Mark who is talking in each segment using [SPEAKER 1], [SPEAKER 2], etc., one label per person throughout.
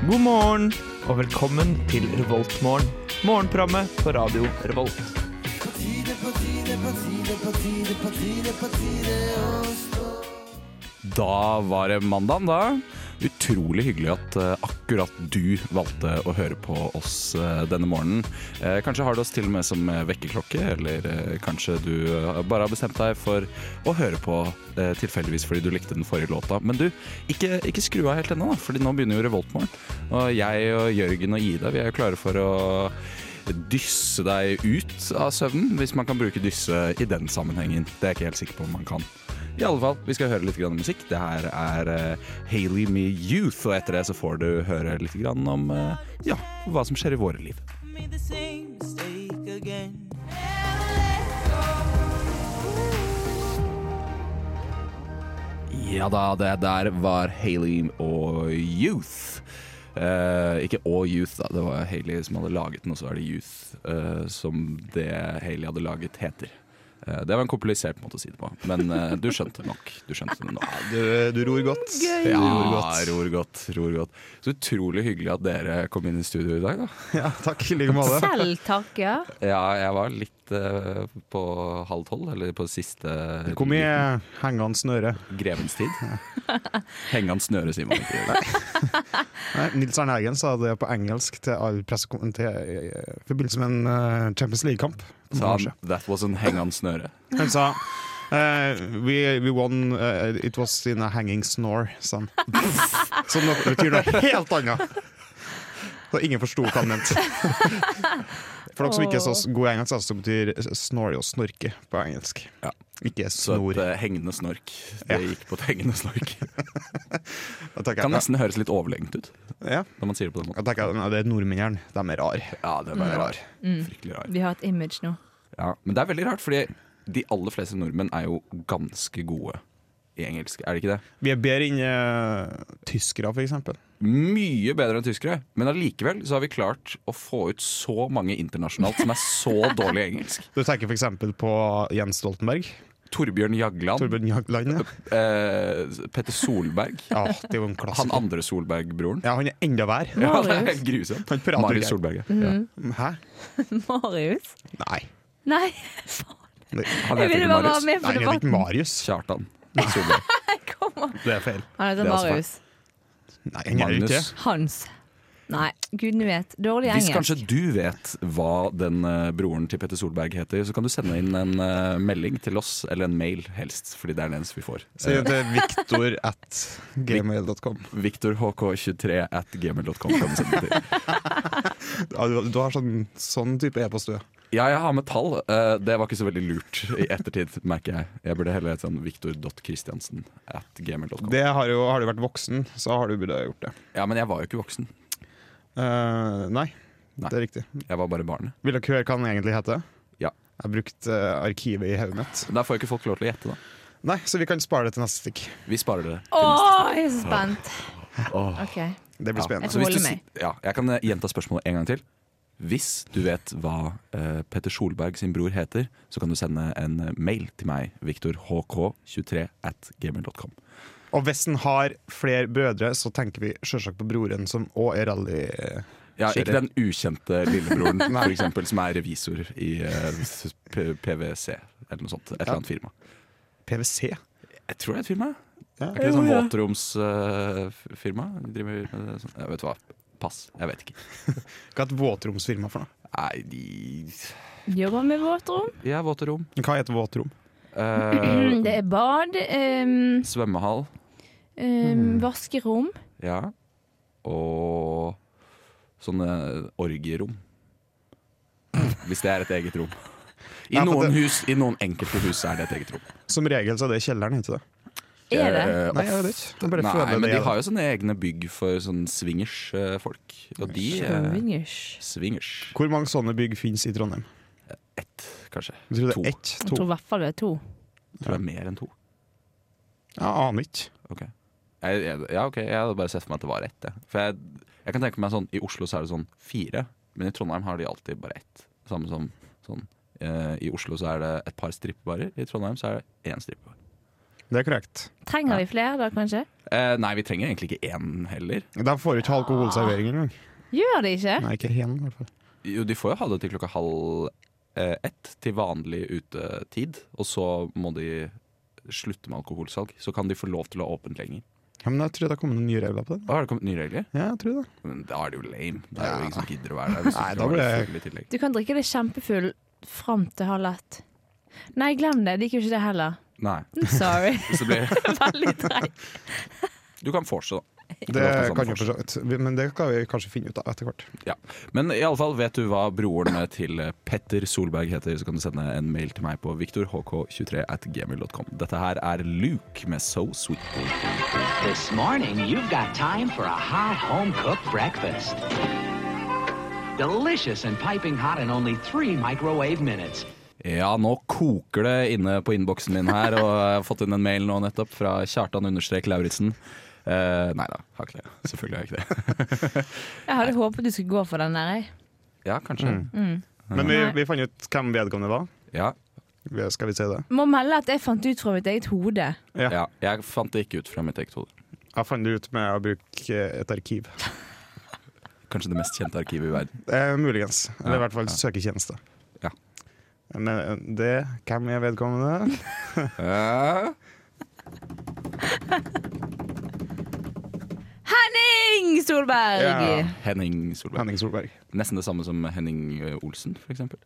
[SPEAKER 1] morgen, og velkommen til Revoltmorgen. Morgenprogrammet på radio Revolt.
[SPEAKER 2] Da var det mandagen, da. Utrolig hyggelig at eh, akkurat du valgte å høre på oss eh, denne morgenen. Eh, kanskje har du oss til og med som eh, vekkerklokke, eller eh, kanskje du eh, bare har bestemt deg for å høre på eh, tilfeldigvis fordi du likte den forrige låta. Men du, ikke, ikke skru av helt ennå, da, fordi nå begynner jo Revoltmorgen. Og jeg og Jørgen og Ida, vi er jo klare for å dysse deg ut av søvnen, hvis man kan bruke dysse i den sammenhengen. Det er jeg ikke helt sikker på om man kan. I alle fall, vi skal høre litt grann musikk. Det her er uh, Hayley Me Youth, og etter det så får du høre litt grann om eh, ja, hva som skjer i våre liv. Ja da, det der var Hayley og Youth. Eh, ikke og Youth, da. Det var Hayley som hadde laget den, og så er det Youth eh, som det Hayley hadde laget, heter. Eh, det var en komplisert måte å si det på, men eh, du skjønte nok. Du skjønte det nok.
[SPEAKER 3] Du, du ror godt. Du
[SPEAKER 2] Ja,
[SPEAKER 3] ror godt.
[SPEAKER 2] ror godt, ror godt. Så utrolig hyggelig at dere kom inn i studio i dag, da.
[SPEAKER 3] Ja, takk i like måte.
[SPEAKER 4] Selv takk, ja.
[SPEAKER 2] Ja, jeg var litt eh, på halv tolv, eller på siste
[SPEAKER 3] Hvor mye henger han snøret?
[SPEAKER 2] Grevens tid. Henge han snøre, sier man ikke.
[SPEAKER 3] Nei, Nils Arne Eggen sa det på engelsk til all pressekom- til, eh, i forbindelse med en eh, Champions League-kamp. for
[SPEAKER 2] Så
[SPEAKER 3] noen år
[SPEAKER 2] han,
[SPEAKER 3] siden.
[SPEAKER 2] that was an hang on snøre.
[SPEAKER 3] Han sa eh, we, we won eh, It was in a hanging snore, sa han. Som noe betyr noe helt annet. Så ingen forsto hva han mente. For dere som ikke er så gode i engelsk, altså, så betyr snore og snorke på engelsk.
[SPEAKER 2] Ja.
[SPEAKER 3] Ikke
[SPEAKER 2] Så et
[SPEAKER 3] snor.
[SPEAKER 2] eh, hengende snork. Det gikk på et hengende snork.
[SPEAKER 3] Da tenker jeg,
[SPEAKER 2] eh, Kan nesten høres litt overlegent ut
[SPEAKER 3] ja.
[SPEAKER 2] når man sier det på den måten.
[SPEAKER 3] Jeg tenker, nei, det er nordmennene. De er rare.
[SPEAKER 2] Ja, det
[SPEAKER 3] De
[SPEAKER 2] var
[SPEAKER 3] er
[SPEAKER 2] rar.
[SPEAKER 3] rar.
[SPEAKER 2] Fryktelig rar.
[SPEAKER 4] Vi har et image nå.
[SPEAKER 2] Ja, men det er veldig rart, fordi de aller fleste nordmenn er jo ganske gode i engelsk, er det ikke det?
[SPEAKER 3] Vi er bedre enn eh, tyskere, for eksempel.
[SPEAKER 2] mye bedre enn tyskere, men allikevel så har vi klart å få ut så mange internasjonalt som er så dårlig i engelsk.
[SPEAKER 3] Du tenker for eksempel på Jens Stoltenberg.
[SPEAKER 2] Torbjørn Jagland,
[SPEAKER 3] Torbjørn Jagland. Ja.
[SPEAKER 2] eh, Petter Solberg,
[SPEAKER 3] Ja, det er jo en
[SPEAKER 2] han
[SPEAKER 3] klassiker.
[SPEAKER 2] andre Solberg-broren.
[SPEAKER 3] Ja, han er enda verre.
[SPEAKER 2] Ja, det er helt grusomt.
[SPEAKER 3] Han prater
[SPEAKER 2] Marius
[SPEAKER 3] greit.
[SPEAKER 2] Solberg. ja. Ja.
[SPEAKER 4] Mm.
[SPEAKER 3] Hæ?
[SPEAKER 4] Marius?
[SPEAKER 3] Nei.
[SPEAKER 4] Nei,
[SPEAKER 3] Det,
[SPEAKER 2] Han
[SPEAKER 4] jeg
[SPEAKER 2] heter
[SPEAKER 4] ville
[SPEAKER 2] ikke
[SPEAKER 4] bare være
[SPEAKER 2] Marius.
[SPEAKER 4] med
[SPEAKER 3] nei,
[SPEAKER 4] på
[SPEAKER 3] det er ikke
[SPEAKER 4] debatten.
[SPEAKER 3] Marius.
[SPEAKER 2] Kjartan Solberg.
[SPEAKER 4] Kom an.
[SPEAKER 3] Det er feil.
[SPEAKER 2] Det
[SPEAKER 4] Han heter
[SPEAKER 2] er altså også
[SPEAKER 4] Marius.
[SPEAKER 3] Nei, han er jo ikke.
[SPEAKER 2] Magnus.
[SPEAKER 3] det.
[SPEAKER 4] Hans. Nei, gudene vet. Dårlig
[SPEAKER 2] Hvis
[SPEAKER 4] engelsk.
[SPEAKER 2] kanskje du vet hva den eh, broren til Petter Solberg heter, så kan du sende inn en eh, melding til oss, eller en mail helst, fordi det er den eneste vi får. Eh,
[SPEAKER 3] Så det er Victor at gmail.com.
[SPEAKER 2] ViktorHK23 at gmail.com kan du sende den til.
[SPEAKER 3] Ja, du, du har sånn, sånn type e-post, du. ja.
[SPEAKER 2] Ja, jeg har med tall. Eh, det var ikke så veldig lurt i ettertid, merker jeg. Jeg burde heller hett sånn victor.christiansen at gmail.com.
[SPEAKER 3] Det har jo, har du vært voksen, så har du burde gjort det.
[SPEAKER 2] Ja, men jeg var jo ikke voksen.
[SPEAKER 3] Eh, nei,
[SPEAKER 2] Nei.
[SPEAKER 3] det er riktig.
[SPEAKER 2] Jeg var bare barnet.
[SPEAKER 3] Vil dere høre hva han egentlig heter?
[SPEAKER 2] Ja.
[SPEAKER 3] Jeg har brukt eh, arkivet i hodet mitt.
[SPEAKER 2] Men der får jo ikke folk lov til å gjette, da.
[SPEAKER 3] Nei, så vi kan spare det til neste stikk.
[SPEAKER 2] Vi sparer det.
[SPEAKER 4] Å, jeg er så spent.
[SPEAKER 2] Åh.
[SPEAKER 4] Ok.
[SPEAKER 3] Det
[SPEAKER 2] Ja. Altså,
[SPEAKER 3] blir spennende.
[SPEAKER 4] Jeg får
[SPEAKER 2] hvis du
[SPEAKER 4] holde
[SPEAKER 2] si- Ja, jeg kan eh, gjenta spørsmålet en gang til. Hvis du vet hva eh, Petter Solberg sin bror heter, så kan du sende en eh, mail til meg, victorhk23 at gmail.com.
[SPEAKER 3] Og hvis han har flere brødre, så tenker vi selvsagt på broren som òg er rally... eh,
[SPEAKER 2] Ja, ikke
[SPEAKER 3] Kjører.
[SPEAKER 2] den ukjente lillebroren for eksempel, som er revisor i eh, s- P- PwC eller noe sånt. Et eller annet firma.
[SPEAKER 3] PwC.
[SPEAKER 2] Jeg tror det er et firma.
[SPEAKER 3] Ja.
[SPEAKER 2] Er ikke det sånn våtromsfirma? De driver med det sånn. Jeg vet du hva. Pass. Jeg vet ikke.
[SPEAKER 3] Hva er et våtromsfirma for noe?
[SPEAKER 2] Nei, de
[SPEAKER 4] Jobber med våtrom.
[SPEAKER 2] Ja, våte rom.
[SPEAKER 3] Hva heter våtrom?
[SPEAKER 2] Eh,
[SPEAKER 4] Det er bad. ehm,
[SPEAKER 2] svømmehall.
[SPEAKER 4] ehm,
[SPEAKER 2] Hmm.
[SPEAKER 4] vaskerom.
[SPEAKER 2] Ja. Og sånne orgierom. Hvis det er et eget rom. I
[SPEAKER 3] Ja, for
[SPEAKER 2] noen,
[SPEAKER 3] det-
[SPEAKER 2] hus, I noen enkelte hus er det et eget rom.
[SPEAKER 3] Som regel så er det kjelleren, heter det.
[SPEAKER 4] Er det?
[SPEAKER 2] Eh,
[SPEAKER 3] Nei, jeg vet ikke. Jeg bare
[SPEAKER 2] Nei,
[SPEAKER 3] føler
[SPEAKER 2] men
[SPEAKER 3] det
[SPEAKER 2] de
[SPEAKER 3] er
[SPEAKER 2] har jo sånne egne bygg for sånn swingers-folk. Og de
[SPEAKER 4] Oh,
[SPEAKER 2] eh,
[SPEAKER 4] Sjøvingers.
[SPEAKER 2] Swingers.
[SPEAKER 3] det. Hvor mange sånne bygg finnes i Trondheim?
[SPEAKER 2] Ett, kanskje.
[SPEAKER 3] Jeg tror det
[SPEAKER 2] To.
[SPEAKER 3] er ett,
[SPEAKER 4] Jeg tror
[SPEAKER 3] to.
[SPEAKER 4] i hvert fall det er to.
[SPEAKER 2] Tror det er mer enn to.
[SPEAKER 3] Jeg aner ikke.
[SPEAKER 2] Ok jeg, jeg, Ja, ok, jeg hadde bare sett for meg at det var ett. jeg. For jeg, jeg kan tenke meg sånn, I Oslo så er det sånn fire, men i Trondheim har de alltid bare ett. Samme som sånn eh, I Oslo så er det et par strippebarer, i Trondheim så er det én strippebar.
[SPEAKER 3] Det er korrekt.
[SPEAKER 4] Trenger vi flere da, kanskje?
[SPEAKER 2] Eh, nei, vi trenger egentlig ikke én heller.
[SPEAKER 3] De får ikke alkoholservering engang.
[SPEAKER 4] Gjør det ikke?
[SPEAKER 3] Nei, ikke hen, i hvert fall.
[SPEAKER 2] Jo, de får jo ha det til klokka halv eh, ett til vanlig utetid. Og så må de slutte med alkoholsalg. Så kan de få lov til å ha åpent lenger.
[SPEAKER 3] Ja, men jeg tror det har kommet noen nye regler på det.
[SPEAKER 2] Å, har det kommet nye regler?
[SPEAKER 3] Ja, jeg tror det.
[SPEAKER 2] Men da er det jo lame. Det er
[SPEAKER 3] Ja.
[SPEAKER 2] jo ingen som gidder å være der. Hvis
[SPEAKER 3] Nei,
[SPEAKER 2] du
[SPEAKER 3] da
[SPEAKER 2] skal være
[SPEAKER 3] blir det-
[SPEAKER 2] full i tillegg.
[SPEAKER 4] Du kan drikke deg kjempefull fram til halv ett. Nei, glem det. Jeg liker jo ikke det heller.
[SPEAKER 2] Nei.
[SPEAKER 4] I'm sorry.
[SPEAKER 2] Så blir...
[SPEAKER 4] Veldig treig.
[SPEAKER 2] Du kan forse, da.
[SPEAKER 3] Det kan jo for så vidt. Men det skal vi kanskje finne ut av etter hvert.
[SPEAKER 2] Ja. Men i alle fall, vet du hva broren til eh, Petter Solberg heter, så kan du sende en mail til meg på viktorhk23 at gmail.com. Dette her er Luke med So Sweet.
[SPEAKER 5] This morning, you've got time for a hot home cooked breakfast. Delicious and piping hot in only three microwave minutes.
[SPEAKER 2] Ja, nå koker det inne på innboksen min her, og jeg har fått inn en mail nå nettopp fra Kjartan understrek Lauritzen. Eh, nei da, har ikke det. Selvfølgelig har jeg ikke det.
[SPEAKER 4] Jeg hadde håpet du skulle gå for den der, jeg.
[SPEAKER 2] Ja, kanskje.
[SPEAKER 3] Mm. Men vi,
[SPEAKER 4] Nei.
[SPEAKER 3] vi fant ut hvem vedkommende var.
[SPEAKER 2] Ja,
[SPEAKER 3] Vi- Skal vi si det?
[SPEAKER 4] Må melde at jeg fant ut fra mitt eget hode.
[SPEAKER 2] ja. Jeg fant det ikke ut fra mitt eget hode.
[SPEAKER 3] Jeg fant det ut med å bruke eh, et arkiv.
[SPEAKER 2] Kanskje det mest kjente arkivet i verden.
[SPEAKER 3] Eh, muligens.
[SPEAKER 2] Ja,
[SPEAKER 3] Eller i hvert fall
[SPEAKER 2] ja.
[SPEAKER 3] søketjeneste.
[SPEAKER 2] Ja.
[SPEAKER 3] Men eh, det Hvem er vedkommende?
[SPEAKER 2] Eh,
[SPEAKER 4] Henning Solberg!
[SPEAKER 3] Ja.
[SPEAKER 2] Henning Solberg.
[SPEAKER 3] Henning Solberg.
[SPEAKER 2] Nesten det samme som Henning eh, Olsen, for eksempel.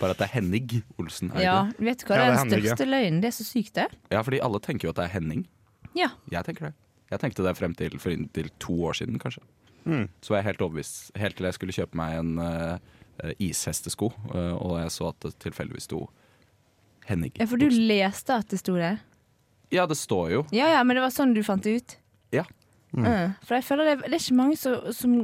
[SPEAKER 2] Bare at det er Henning Olsen. Er det
[SPEAKER 4] Ja,
[SPEAKER 2] ikke
[SPEAKER 4] vet du hva?
[SPEAKER 3] Ja,
[SPEAKER 4] Det er
[SPEAKER 3] det
[SPEAKER 4] den
[SPEAKER 3] hender ikke.
[SPEAKER 4] største løgnen. Det er så sykt, det.
[SPEAKER 2] det? ja, fordi alle tenker jo at det er Henning.
[SPEAKER 4] Ja.
[SPEAKER 2] Jeg tenker det. Jeg tenkte det frem til for inntil to år siden, kanskje. Så var jeg helt overbevist. Helt til jeg skulle kjøpe meg en eh, eh, ishestesko, eh, og jeg så at det tilfeldigvis sto Henning.
[SPEAKER 4] ja, for du leste at det sto det?
[SPEAKER 2] Ja, det står jo.
[SPEAKER 4] Ja ja, men det var sånn du fant det ut?
[SPEAKER 2] Ja.
[SPEAKER 4] Mm. For jeg føler det, det er ikke mange som, som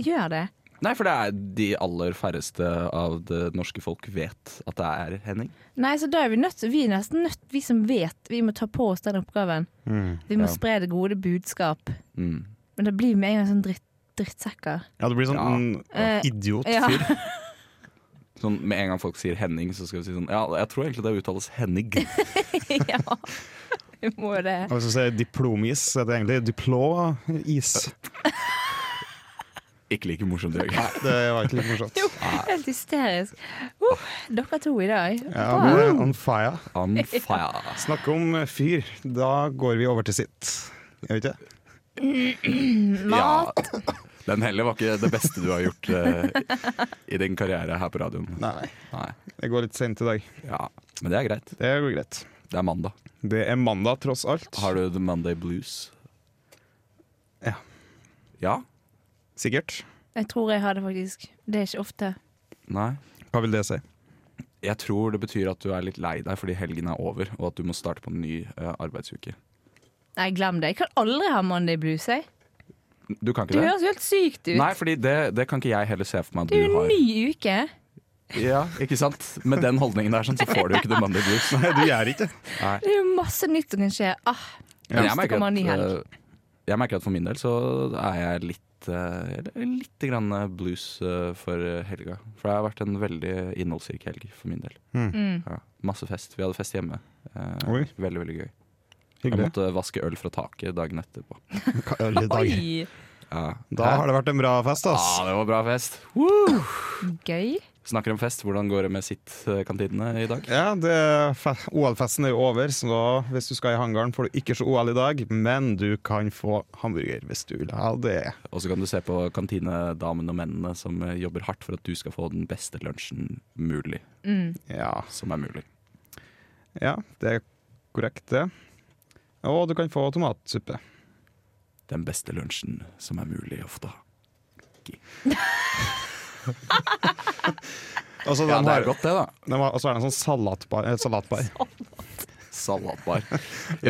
[SPEAKER 4] gjør det.
[SPEAKER 2] Nei, for det er de aller færreste av det norske folk vet at det er Henning.
[SPEAKER 4] Nei, så da er vi nødt Vi er nesten nødt, vi som vet, vi må ta på oss den oppgaven.
[SPEAKER 3] Mm.
[SPEAKER 4] Vi må
[SPEAKER 2] Ja.
[SPEAKER 4] spre det gode budskap.
[SPEAKER 2] Mm.
[SPEAKER 4] Men det blir med en gang sånn dritt, drittsekker.
[SPEAKER 3] Ja, det blir sånn
[SPEAKER 2] Ja.
[SPEAKER 3] mm,
[SPEAKER 4] Eh,
[SPEAKER 3] idiot.
[SPEAKER 4] Ja.
[SPEAKER 2] Sånn, med en gang folk sier Henning, så skal vi si sånn Ja, jeg tror egentlig det uttales Henning.
[SPEAKER 4] ja. Vi må jo det.
[SPEAKER 3] Og Hvis du sier diplomis, så er det egentlig diplå-is.
[SPEAKER 2] Ikke like morsomt i dag.
[SPEAKER 3] Det var ikke litt morsomt.
[SPEAKER 4] Jo, helt hysterisk. Uh, dere to i dag.
[SPEAKER 3] Ja, eh,
[SPEAKER 4] Bra.
[SPEAKER 3] nå er det on fire.
[SPEAKER 2] On fire.
[SPEAKER 3] Snakke om fyr. Da går vi over til sitt. Gjør vi ikke det?
[SPEAKER 4] Mat.
[SPEAKER 2] Den heller var ikke det beste du har gjort eh, i din karriere her på radioen.
[SPEAKER 3] Nei, nei.
[SPEAKER 2] Nei.
[SPEAKER 3] Det går litt sent i dag.
[SPEAKER 2] Ja. Men det er greit.
[SPEAKER 3] Det går greit.
[SPEAKER 2] Det er mandag.
[SPEAKER 3] Det er mandag, tross alt.
[SPEAKER 2] Har du The Monday Blues?
[SPEAKER 3] Ja.
[SPEAKER 2] Ja?
[SPEAKER 3] Sikkert.
[SPEAKER 4] Jeg tror jeg har det faktisk. Det er ikke ofte.
[SPEAKER 2] Nei?
[SPEAKER 3] Hva vil det si?
[SPEAKER 2] Jeg tror det betyr at du er litt lei deg fordi helgen er over, og at du må starte på en ny eh, arbeidsuke.
[SPEAKER 4] Nei, glem det. Jeg kan aldri ha Monday blues. jeg.
[SPEAKER 2] Du kan
[SPEAKER 4] Det
[SPEAKER 2] ikke det?
[SPEAKER 4] høres jo helt sykt ut.
[SPEAKER 2] Nei, fordi det, det kan ikke jeg heller se for meg at
[SPEAKER 4] det
[SPEAKER 2] du
[SPEAKER 4] er jo en
[SPEAKER 2] har.
[SPEAKER 4] ny uke.
[SPEAKER 2] Ja, ikke sant? Med den holdningen der sånn, så får du ikke The Monday Blues.
[SPEAKER 3] Nei, du gjør ikke det.
[SPEAKER 2] Nei.
[SPEAKER 4] Det er jo masse nytt som kan skje. Ah,
[SPEAKER 2] Men
[SPEAKER 4] Hvis
[SPEAKER 2] jeg
[SPEAKER 4] det
[SPEAKER 2] merker,
[SPEAKER 4] kommer en ny
[SPEAKER 2] at,
[SPEAKER 4] helg.
[SPEAKER 2] eh, jeg merker at for min del så er jeg litt eh, jeg er Litt grann eh, blues eh, for eh, helga. For det har vært en veldig innholdsrik helg for min del.
[SPEAKER 4] mm.
[SPEAKER 2] Ja. Masse fest. Vi hadde fest hjemme. Eh,
[SPEAKER 3] Oi.
[SPEAKER 2] veldig, veldig gøy. Jeg
[SPEAKER 3] Hyggelig.
[SPEAKER 2] måtte vaske øl fra taket dagen etterpå.
[SPEAKER 3] Hva er det i dag?
[SPEAKER 4] Oi,
[SPEAKER 2] Ja.
[SPEAKER 3] Da har det vært en bra fest, ass.
[SPEAKER 2] Ah, det var bra fest!
[SPEAKER 4] gøy.
[SPEAKER 2] Snakker om fest. Hvordan går det med sitt-kantinene i dag?
[SPEAKER 3] Ja, det- fe- OL-festen er jo over, så da, hvis du skal i hangaren, får du ikke se OL i dag, men du kan få hamburger hvis du vil ha det.
[SPEAKER 2] Og så kan du se på kantinedamene og mennene som eh, jobber hardt for at du skal få den beste lunsjen mulig.
[SPEAKER 3] Ja,
[SPEAKER 2] Som er mulig.
[SPEAKER 3] ja det er korrekt, det. Og du kan få tomatsuppe.
[SPEAKER 2] Den beste lunsjen som er mulig ofte.
[SPEAKER 3] Og så
[SPEAKER 2] Ja,
[SPEAKER 3] de
[SPEAKER 2] det er
[SPEAKER 3] har-
[SPEAKER 2] godt, det, da.
[SPEAKER 3] de har- og så er det en sånn salatbar. eh, salatbar.
[SPEAKER 2] Salatbar.
[SPEAKER 3] En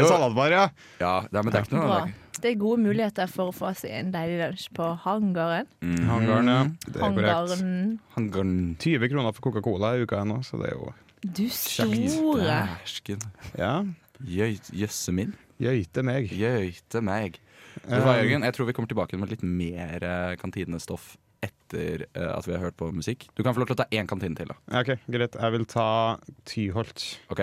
[SPEAKER 3] salatbar, ja.
[SPEAKER 2] Ja, det er, men det er ikke noe
[SPEAKER 4] Bra. Det er gode muligheter for å få seg en deilig lunsj på hangaren.
[SPEAKER 2] Mm.
[SPEAKER 3] Hangaren, ja. Det er korrekt.
[SPEAKER 4] Hangaren.
[SPEAKER 2] Han går
[SPEAKER 3] 20 kroner for Coca-Cola i uka ennå, så det er jo
[SPEAKER 4] Du store.
[SPEAKER 2] Dæsken.
[SPEAKER 3] Ja,
[SPEAKER 2] Jøy- Jøsse min.
[SPEAKER 3] gøyte meg.
[SPEAKER 2] Jøyte meg. Vet du hva, Jørgen? Jeg tror vi kommer tilbake med litt mer eh, kantinestoff etter eh, at vi har hørt på musikk. Du kan få lov til å ta én kantine til, da.
[SPEAKER 3] Ja, Ok, greit. Jeg vil ta Tyholt.
[SPEAKER 2] Ok,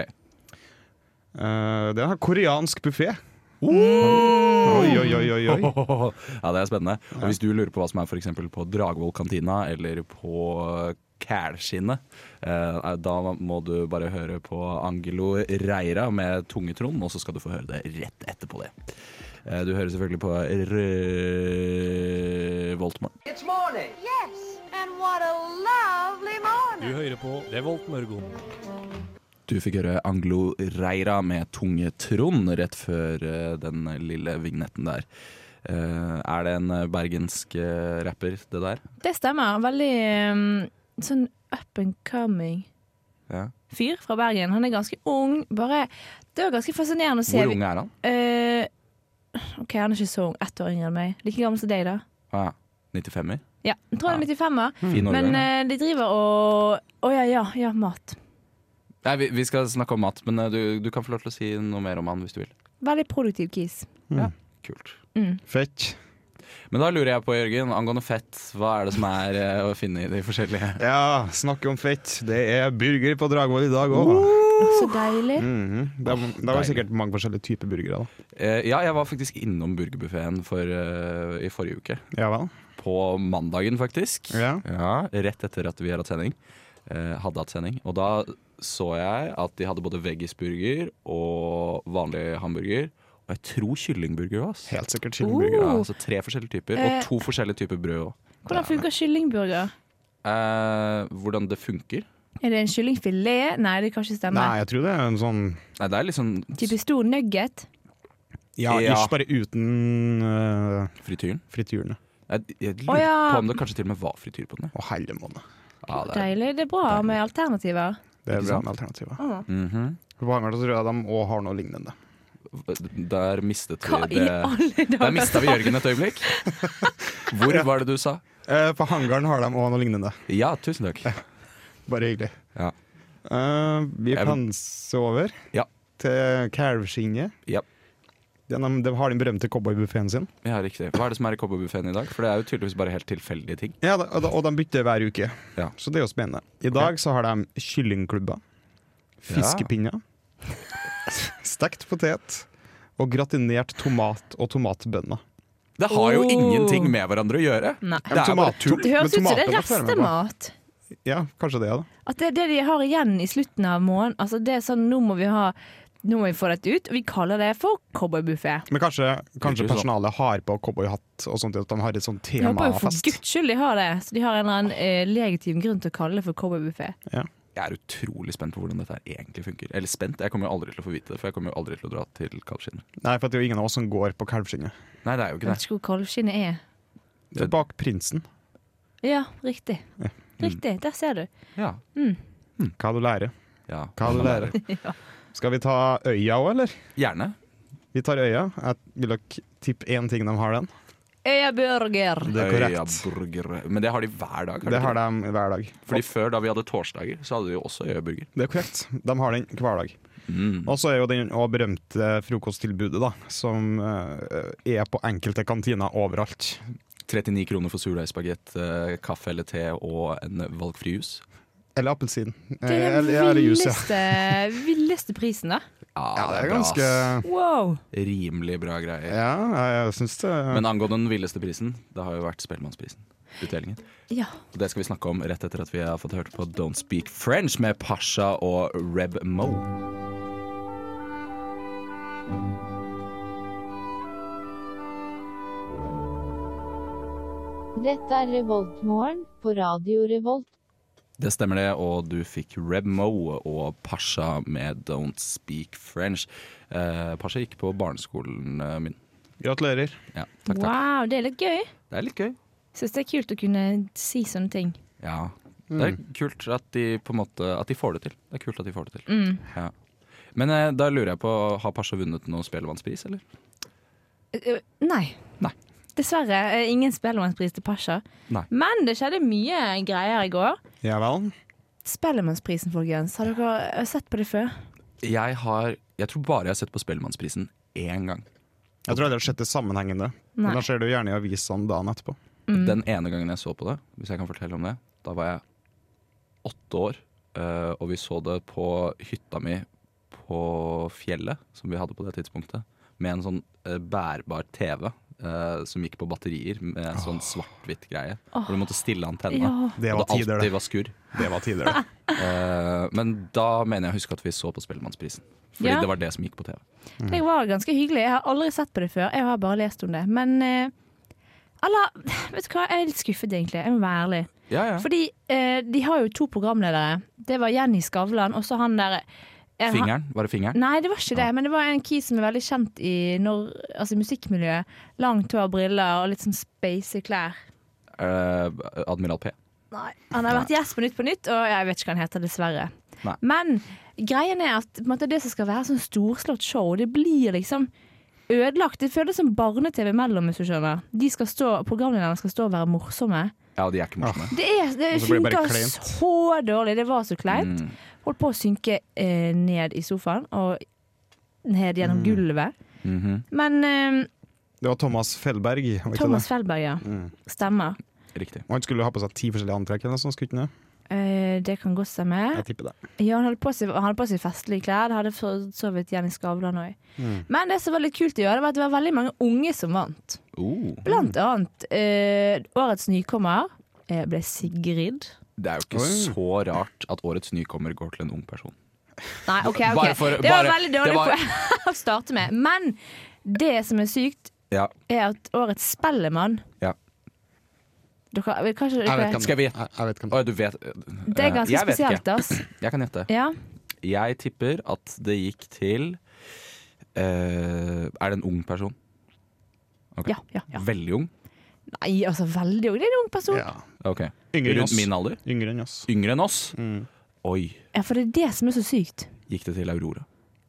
[SPEAKER 3] Eh, det er en koreansk buffé. Oi,
[SPEAKER 2] Oi,
[SPEAKER 3] oi, oi, oi, oi.
[SPEAKER 2] Ja, det er spennende. Og hvis du lurer på hva som er for eksempel på Dragvoll kantina eller på Kælskinnet, eh, da må du bare høre på Angelo Reira med Tungetrond, og så skal du få høre det rett etterpå det. Eh, Du hører selvfølgelig på R... Voltmorgen.
[SPEAKER 6] It's morning.
[SPEAKER 7] Yes, and what a lovely morning.
[SPEAKER 2] Du fikk høre Anglo Reira med Tunge Trond rett før eh, den lille vignetten der. Eh, Er det en bergensk eh, rapper, det der?
[SPEAKER 4] Det stemmer. Veldig ehm, sånn up and coming
[SPEAKER 2] Ja.
[SPEAKER 4] fyr fra Bergen. Han er ganske ung. Bare, det var ganske fascinerende å se.
[SPEAKER 2] Hvor ung er han?
[SPEAKER 4] Eh, OK, han er ikke så ung. Ett år yngre enn meg. Like gammel som deg, da.
[SPEAKER 2] Ah, ja. 95-er?
[SPEAKER 4] Ja, jeg tror han er 95-er.
[SPEAKER 2] Fin årgang.
[SPEAKER 4] Men eh, de driver og Å ja, ja, ja, mat.
[SPEAKER 2] Nei, vi, vi skal snakke om mat, men eh, du, du kan få lov til å si noe mer om han hvis du vil.
[SPEAKER 4] Veldig produktiv kis.
[SPEAKER 2] Kult.
[SPEAKER 3] Fett.
[SPEAKER 2] Men da lurer jeg på, Jørgen, angående fett, hva er det som er eh, å finne i de forskjellige
[SPEAKER 3] Ja, snakke om fett. Det er burger på Dragvoll i dag òg.
[SPEAKER 4] Så deilig.
[SPEAKER 2] Mm.
[SPEAKER 3] Det, er- det var sikkert mange forskjellige typer burgere. da
[SPEAKER 2] Eh, Ja, jeg var faktisk innom burgerbuffeen for, eh, i forrige uke.
[SPEAKER 3] Ja vel?
[SPEAKER 2] På mandagen, faktisk.
[SPEAKER 3] Ja.
[SPEAKER 2] Rett etter at vi har hatt sending. Eh, hadde hatt sending. Og da så jeg at de hadde både veggisburger og vanlig hamburger. Og jeg tror kyllingburger òg.
[SPEAKER 3] Helt sikkert kyllingburger.
[SPEAKER 2] Ja,
[SPEAKER 3] da.
[SPEAKER 2] altså tre forskjellige typer,
[SPEAKER 4] Eh.
[SPEAKER 2] og to forskjellige typer brød òg.
[SPEAKER 4] Hvordan funker kyllingburger?
[SPEAKER 2] Eh, hvordan det funker?
[SPEAKER 4] Er det en kyllingfilet? Nei, det kan ikke stemme.
[SPEAKER 3] Nei, jeg tror det er en sånn
[SPEAKER 2] Nei, det er litt sånn
[SPEAKER 4] Type stor nugget.
[SPEAKER 3] Ja,
[SPEAKER 2] Ja.
[SPEAKER 3] ish, bare uten eh,
[SPEAKER 2] frityren.
[SPEAKER 3] frityrene.
[SPEAKER 2] Jeg, jeg lurer
[SPEAKER 4] Å, ja.
[SPEAKER 2] på om det kanskje til og med var frityr på den. jeg.
[SPEAKER 3] Å, helle måned.
[SPEAKER 2] Ja, det er,
[SPEAKER 4] Deilig. Det er bra med alternativer.
[SPEAKER 3] Det er
[SPEAKER 2] Ikke
[SPEAKER 3] bra
[SPEAKER 2] sant?
[SPEAKER 3] med alternativer.
[SPEAKER 2] Mhm.
[SPEAKER 3] For På Hamar så tror jeg de òg har noe lignende.
[SPEAKER 2] Der mistet
[SPEAKER 4] Hva
[SPEAKER 2] vi
[SPEAKER 4] i
[SPEAKER 2] det.
[SPEAKER 4] alle
[SPEAKER 2] Der
[SPEAKER 4] dager?
[SPEAKER 2] mista vi Jørgen et øyeblikk. Hvor var det du sa?
[SPEAKER 3] Eh, på hangaren har de òg noe lignende.
[SPEAKER 2] Ja, tusen takk.
[SPEAKER 3] Bare hyggelig.
[SPEAKER 2] Ja.
[SPEAKER 3] Eh, vi
[SPEAKER 2] Jeg-
[SPEAKER 3] kan se over
[SPEAKER 2] Ja.
[SPEAKER 3] til kalvskinnet.
[SPEAKER 2] Ja,
[SPEAKER 3] De, de har den berømte cowboybuffeen sin.
[SPEAKER 2] ja riktig. Hva er det som er i cowboybuffeen i dag? For det er jo tydeligvis bare helt tilfeldige ting.
[SPEAKER 3] Ja, da- og da- og de bytter hver uke.
[SPEAKER 2] Ja.
[SPEAKER 3] Så det er jo spennende. I dag så har de kyllingklubber, fiskepinner, stekt potet og gratinert tomat og tomatbønner.
[SPEAKER 2] Det har jo
[SPEAKER 4] Oh.
[SPEAKER 2] ingenting med hverandre å gjøre.
[SPEAKER 4] Nei.
[SPEAKER 2] Det er bare
[SPEAKER 3] Tomat-
[SPEAKER 2] tull.
[SPEAKER 4] Det høres ut
[SPEAKER 3] Men
[SPEAKER 4] som det er
[SPEAKER 3] tomatene fører meg på.
[SPEAKER 4] restemat.
[SPEAKER 3] Ja, kanskje det, da.
[SPEAKER 4] At det er det de har igjen i slutten av måneden. Altså det er sånn, nå må vi ha Nå må vi få dette ut. Og vi kaller det for cowboybuffé.
[SPEAKER 3] Men kanskje, kanskje
[SPEAKER 2] Virker jo sånn.
[SPEAKER 3] personalet har på cowboyhatt og sånt, at de har et sånt
[SPEAKER 4] Jeg håper jo for
[SPEAKER 3] temafest.
[SPEAKER 4] guds skyld de har det, så de har en eller annen eh, legitim grunn til å kalle det for cowboybuffé.
[SPEAKER 2] Jeg er utrolig spent på hvordan dette her egentlig funker. Eller spent, jeg kommer jo aldri til å få vite det, for jeg kommer jo aldri til å dra til kalvskinnet.
[SPEAKER 3] Nei, for det er jo ingen av oss som går på kalvskinnet.
[SPEAKER 2] Nei, det er jo ikke
[SPEAKER 4] Jeg
[SPEAKER 2] det.
[SPEAKER 4] vet ikke hvor kalvskinnet er.
[SPEAKER 3] Det er bak prinsen.
[SPEAKER 4] Ja, riktig. Riktig, der ser du.
[SPEAKER 2] Ja.
[SPEAKER 3] Hva du lærer.
[SPEAKER 2] ja.
[SPEAKER 3] Hva du lærer. Skal vi ta øya òg, eller?
[SPEAKER 2] Gjerne.
[SPEAKER 3] Vi tar øya. Jeg vil dere tippe én ting de har den.
[SPEAKER 4] Øyaburger.
[SPEAKER 3] Det er korrekt.
[SPEAKER 2] Øyaburger. Men det har de hver dag. har de
[SPEAKER 3] Det har
[SPEAKER 2] ikke
[SPEAKER 3] de hver dag.
[SPEAKER 2] det? Fordi før, da vi hadde torsdager, så hadde de jo også øyaburger.
[SPEAKER 3] Det er korrekt. De har den hver dag.
[SPEAKER 2] Mm.
[SPEAKER 3] Og så er jo den også berømte frokosttilbudet, da, som eh, er på enkelte kantiner overalt.
[SPEAKER 2] 39 kroner for surdeigsbagett, eh, kaffe eller te og en valgfri jus.
[SPEAKER 3] Eller appelsin. Eh,
[SPEAKER 4] Det er
[SPEAKER 3] Eller,
[SPEAKER 4] den
[SPEAKER 3] eller jus, ja.
[SPEAKER 4] villeste, villeste prisen, da.
[SPEAKER 3] ja. Det er ganske
[SPEAKER 4] Wow.
[SPEAKER 2] Rimelig bra greier.
[SPEAKER 3] Ja, jeg syns det
[SPEAKER 2] Men angående den villeste prisen, det har jo vært Spellemannsprisen. Utdelingen.
[SPEAKER 4] Ja.
[SPEAKER 2] Og Det skal vi snakke om rett etter at vi har fått hørt på Don't Speak French med Pasha og Reb Mo.
[SPEAKER 8] Dette er Revoltmorgen på Radio Revolt.
[SPEAKER 2] Det stemmer det, og du fikk Reb Mo og Pasha med Don't Speak French. Eh, Pasha gikk på barneskolen eh, min.
[SPEAKER 3] Gratulerer.
[SPEAKER 2] Ja, takk, takk.
[SPEAKER 4] Wow, det er litt gøy.
[SPEAKER 2] Det er litt gøy.
[SPEAKER 4] Syns det er kult å kunne si sånne ting.
[SPEAKER 2] Ja. Det er kult at de på en måte At de får det til. Det er kult at de får det til.
[SPEAKER 4] Mm.
[SPEAKER 2] Ja. Men eh, da lurer jeg på, har Pasha vunnet noen Spellemannspris, eller?
[SPEAKER 4] Eh, Nei.
[SPEAKER 2] Nei.
[SPEAKER 4] Dessverre. eh, Ingen Spellemannspris til Pasha.
[SPEAKER 2] Nei.
[SPEAKER 4] Men det skjedde mye greier i går.
[SPEAKER 3] Ja vel.
[SPEAKER 4] Spellemannsprisen, folkens. Har dere eh, sett på det før?
[SPEAKER 2] Jeg har Jeg tror bare jeg har sett på Spellemannsprisen én gang.
[SPEAKER 3] Jeg tror aldri jeg har sett det sammenhengende. Men
[SPEAKER 4] Nei.
[SPEAKER 3] da ser du gjerne i avisene dagen etterpå.
[SPEAKER 4] Mm.
[SPEAKER 2] Den ene gangen jeg så på det, hvis jeg kan fortelle om det, da var jeg åtte år, eh, og vi så det på hytta mi på fjellet, som vi hadde på det tidspunktet, med en sånn eh, bærbar TV. eh, som gikk på batterier med en sånn svart-hvitt greie. Hvor du måtte stille antenna.
[SPEAKER 4] Ja.
[SPEAKER 3] Det var
[SPEAKER 2] og det
[SPEAKER 3] tider, det.
[SPEAKER 2] alltid var skurr.
[SPEAKER 3] Det var tider, det.
[SPEAKER 2] Eh, men da mener jeg å huske at vi så på Spellemannsprisen. Fordi
[SPEAKER 4] Ja.
[SPEAKER 2] det var det som gikk på TV.
[SPEAKER 4] Det var ganske hyggelig. Jeg har aldri sett på det før. Jeg har bare lest om det. Men eh, alla, vet du hva? Jeg er litt skuffet, egentlig. Jeg må være ærlig.
[SPEAKER 2] Ja, ja.
[SPEAKER 4] Fordi eh, de har jo to programledere. Det var Jenny Skavlan og så han der eh, han-
[SPEAKER 2] Fingeren, var det fingeren?
[SPEAKER 4] Nei, det var ikke det. Men det var en kis som er veldig kjent i nor altså, musikkmiljøet. Langt hår, briller og litt sånn spacey klær.
[SPEAKER 2] Eh, Admiral P.
[SPEAKER 4] Han har vært gjest på Nytt på Nytt, og jeg vet ikke hva han heter, dessverre.
[SPEAKER 2] Nei.
[SPEAKER 4] Men greien er at på en måte, det som skal være sånn storslått show, det blir liksom ødelagt. Det føles som barne-TV mellom, hvis du skjønner. De skal stå, programlederne skal stå og være morsomme.
[SPEAKER 2] Ja, de er ikke morsomme.
[SPEAKER 4] Det, er, det
[SPEAKER 3] Og så blir det bare
[SPEAKER 4] funker
[SPEAKER 3] kleint. Mm.
[SPEAKER 4] så dårlig. Det var så kleint. Holdt på å synke eh, ned i sofaen og ned gjennom
[SPEAKER 3] Mm.
[SPEAKER 4] gulvet.
[SPEAKER 2] Mhm,
[SPEAKER 4] Men eh,
[SPEAKER 3] Det var Thomas Fellberg. var ikke
[SPEAKER 4] Thomas
[SPEAKER 3] det? Mm.
[SPEAKER 4] Feldberg, ja. Stemmer.
[SPEAKER 2] Riktig.
[SPEAKER 3] Og han skulle ha på seg ti forskjellige antrekk. eller noe sånt, skulle han ikke det?
[SPEAKER 4] Eh, det kan godt stemme.
[SPEAKER 3] Jeg tipper det.
[SPEAKER 4] Ja, han hadde på seg, han hadde på seg festlige klær. Det hadde for så vidt Jenny Skavlan òg.
[SPEAKER 2] Mm.
[SPEAKER 4] Men det som var litt kult i år, det var at det var veldig mange unge som vant.
[SPEAKER 2] Oh,
[SPEAKER 4] Blant annet eh, årets nykommer eh, ble Sigrid.
[SPEAKER 2] det er jo ikke så rart at årets nykommer går til en ung person.
[SPEAKER 4] Nei, OK, ok.
[SPEAKER 2] Bare for-
[SPEAKER 4] det var
[SPEAKER 2] bare-
[SPEAKER 4] veldig
[SPEAKER 2] det
[SPEAKER 4] dårlig
[SPEAKER 2] var-
[SPEAKER 4] poeng å starte med. Men det som er sykt,
[SPEAKER 2] Ja,
[SPEAKER 4] er at årets Spellemann
[SPEAKER 2] ja.
[SPEAKER 4] dere, vet kanskje,
[SPEAKER 3] Jeg vet
[SPEAKER 4] dere,
[SPEAKER 3] hvem
[SPEAKER 2] Skal vi-
[SPEAKER 3] det er. Jeg- Jeg vet hvem det er.
[SPEAKER 2] Å, du vet eh,
[SPEAKER 4] Det er ganske
[SPEAKER 2] jeg vet
[SPEAKER 4] spesielt,
[SPEAKER 2] Ikke.
[SPEAKER 4] altså.
[SPEAKER 2] Jeg kan gjette.
[SPEAKER 4] Ja.
[SPEAKER 2] Jeg tipper at det gikk til eh, Er det en ung person? Ok.
[SPEAKER 4] Ja, ja, ja.
[SPEAKER 2] Veldig ung?
[SPEAKER 4] Nei, altså veldig ung. Det er en ung person. Ja.
[SPEAKER 3] Ja.
[SPEAKER 2] Ok.
[SPEAKER 3] Yngre enn
[SPEAKER 2] Rundt
[SPEAKER 3] oss.
[SPEAKER 2] min alder?
[SPEAKER 3] Yngre enn oss.
[SPEAKER 2] Yngre enn oss? Oi.
[SPEAKER 4] For det er det som er så sykt.
[SPEAKER 2] Gikk det til Aurora?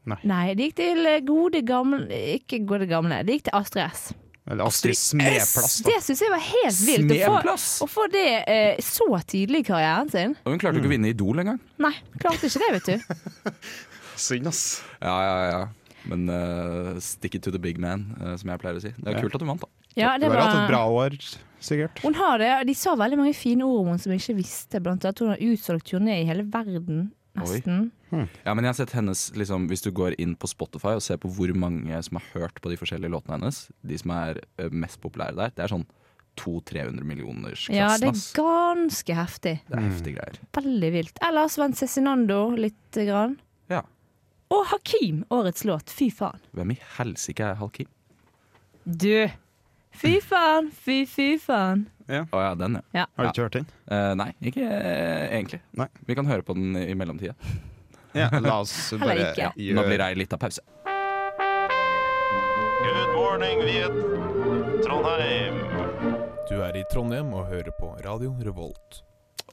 [SPEAKER 4] Nei, det gikk til eh, gode gamle Ikke gode gamle, det gikk til Astrid S.
[SPEAKER 3] Eller Astrid Smeplass. Da.
[SPEAKER 4] Det syns jeg var helt vilt. Å få,
[SPEAKER 2] Smeplass!
[SPEAKER 4] å få det eh, så tidlig i karrieren sin.
[SPEAKER 2] Og hun klarte jo ikke å vinne Idol engang.
[SPEAKER 4] Nei, klarte ikke det, vet du.
[SPEAKER 3] Synd, ass.
[SPEAKER 2] Ja, ja, ja. Men eh, stick it to the big man, eh, som jeg pleier å si. Det er kult at hun vant, da.
[SPEAKER 4] Ja,
[SPEAKER 3] Du
[SPEAKER 4] det
[SPEAKER 3] har hatt et
[SPEAKER 4] var,
[SPEAKER 3] bra år, sikkert.
[SPEAKER 4] hun har det. og De sa veldig mange fine ord om henne som jeg ikke visste. Blant annet at hun har utsolgt turné i hele verden, nesten.
[SPEAKER 2] Ja, men jeg har sett hennes, liksom, Hvis du går inn på Spotify og ser på hvor mange som har hørt på de forskjellige låtene hennes, de som er eh, mest populære der, det er sånn 200-300 millioners
[SPEAKER 4] Ja, det
[SPEAKER 2] klassen,
[SPEAKER 4] er
[SPEAKER 2] ass.
[SPEAKER 4] ganske heftig.
[SPEAKER 2] Det er heftige greier.
[SPEAKER 4] Veldig vilt. Ellers Vent Cezinando lite grann.
[SPEAKER 2] Ja.
[SPEAKER 4] Og Hakim, årets låt. Fy faen.
[SPEAKER 2] Hvem i helsike er Halkim?
[SPEAKER 4] Du! Fy faen, fy fy faen.
[SPEAKER 2] Å ja, den, ja.
[SPEAKER 3] Har du ikke hørt den?
[SPEAKER 2] Eh, nei, ikke eh, egentlig.
[SPEAKER 3] Nei.
[SPEAKER 2] Vi kan høre på den i mellomtida.
[SPEAKER 3] Ja, la oss bare
[SPEAKER 4] ikke.
[SPEAKER 2] Nå blir
[SPEAKER 3] gjøre
[SPEAKER 2] det ei lita pause.
[SPEAKER 6] Good morning, Viet Trondheim.
[SPEAKER 9] Du er i Trondheim og hører på Radio Revolt.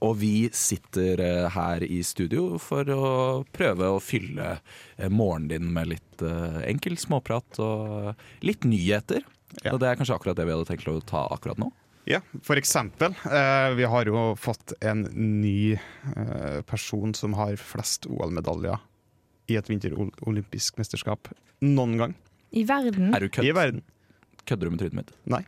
[SPEAKER 2] Og vi sitter eh, her i studio for å prøve å fylle eh, morgenen din med litt eh, enkel småprat og litt nyheter.
[SPEAKER 3] Ja.
[SPEAKER 2] Og det er kanskje akkurat det vi hadde tenkt å ta akkurat nå.
[SPEAKER 3] Ja, for eksempel. eh, vi har jo fått en ny eh, person som har flest OL-medaljer i et vinterolympisk mesterskap noen gang
[SPEAKER 4] I verden.
[SPEAKER 2] Er du kødd?
[SPEAKER 3] i verden.
[SPEAKER 2] Kødder du med trynet mitt?
[SPEAKER 3] Nei.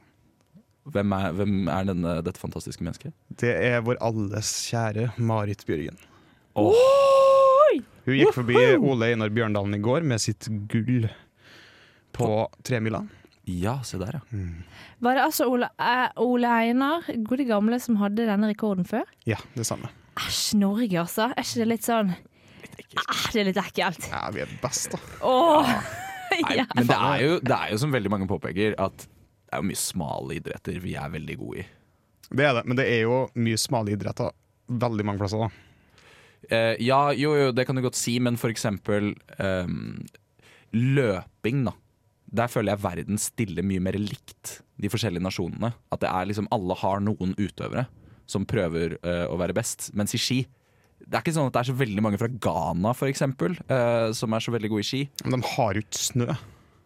[SPEAKER 2] Hvem er, hvem er denne, dette fantastiske mennesket?
[SPEAKER 3] Det er vår alles kjære Marit Bjørgen.
[SPEAKER 2] Åh.
[SPEAKER 3] Hun gikk forbi Ole Einar Bjørndalen i går med sitt gull på tremila.
[SPEAKER 2] Ja, se der, ja.
[SPEAKER 4] Var det altså Ole, eh, Ole Einar, gode gamle, som hadde denne rekorden før?
[SPEAKER 3] Ja, det samme.
[SPEAKER 4] Æsj, Norge altså. Er ikke det litt sånn ah, Det er litt ekkelt.
[SPEAKER 3] Ja, vi er best, da.
[SPEAKER 4] Åh!
[SPEAKER 2] Nei,
[SPEAKER 4] Ja.
[SPEAKER 2] men det er, jo, det er jo som veldig mange påpeker, at det er jo mye smale idretter vi er veldig gode i.
[SPEAKER 3] Det er det, men det er jo mye smale idretter veldig mange plasser, da.
[SPEAKER 2] Eh, ja, jo, jo, det kan du godt si, men for eksempel eh, løping, da. Der føler jeg verden stiller mye mer likt de forskjellige nasjonene. At det er liksom alle har noen utøvere som prøver eh, å være best. Mens i ski det er ikke sånn at det er så veldig mange fra Ghana for eksempel, eh, som er så veldig gode i ski.
[SPEAKER 3] Men de har jo ikke snø.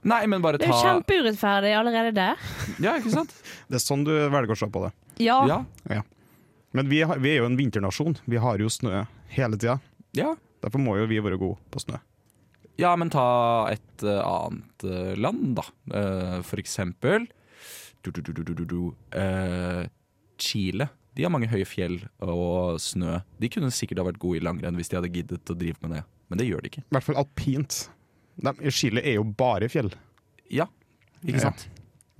[SPEAKER 2] Nei, men bare
[SPEAKER 4] Det er jo
[SPEAKER 2] ta
[SPEAKER 4] kjempeurettferdig allerede der.
[SPEAKER 2] Ja, ikke sant?
[SPEAKER 3] Det er sånn du velger å se på det.
[SPEAKER 4] Ja.
[SPEAKER 2] Ja.
[SPEAKER 3] Men vi, har, vi er jo en vinternasjon. Vi har jo snø hele tida.
[SPEAKER 2] ja.
[SPEAKER 3] Derfor må jo vi være gode på snø.
[SPEAKER 2] Ja, men ta et eh, annet eh, land, da. Eh, for eksempel du, du, du, du, du, du, du, eh, Chile. De har mange høye fjell og snø. De kunne sikkert ha vært gode i langrenn hvis de hadde giddet å drive med det. Men det gjør de ikke.
[SPEAKER 3] I hvert fall alpint. De, Chile er jo bare fjell.
[SPEAKER 2] Ja, ikke
[SPEAKER 3] Ja.
[SPEAKER 2] sant?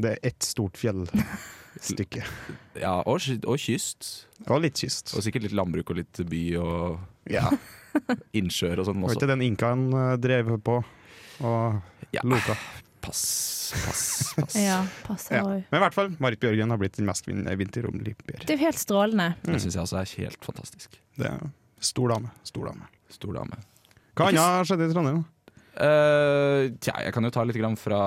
[SPEAKER 3] Det er ett stort fjellstykke.
[SPEAKER 2] Ja, og, ky- og kyst.
[SPEAKER 3] Og litt kyst.
[SPEAKER 2] Og sikkert litt landbruk og litt by og
[SPEAKER 3] Ja.
[SPEAKER 2] innsjøer og sånn
[SPEAKER 3] Var
[SPEAKER 2] også.
[SPEAKER 3] ikke den inkaen eh, drev på og
[SPEAKER 2] Ja.
[SPEAKER 3] loka?
[SPEAKER 2] Pass, pass, pass.
[SPEAKER 4] Ja, passer
[SPEAKER 3] Ja.
[SPEAKER 4] òg.
[SPEAKER 3] Men i hvert fall, Marit Bjørgen har blitt den mest vin- vinterolympier.
[SPEAKER 4] Det er jo helt strålende.
[SPEAKER 2] Det syns jeg også er helt fantastisk.
[SPEAKER 3] Det er stor dame. Stor dame.
[SPEAKER 2] Stor dame.
[SPEAKER 3] Hva annet skjedde i Trondheim?
[SPEAKER 2] Eh, tja, jeg kan jo ta litt grann fra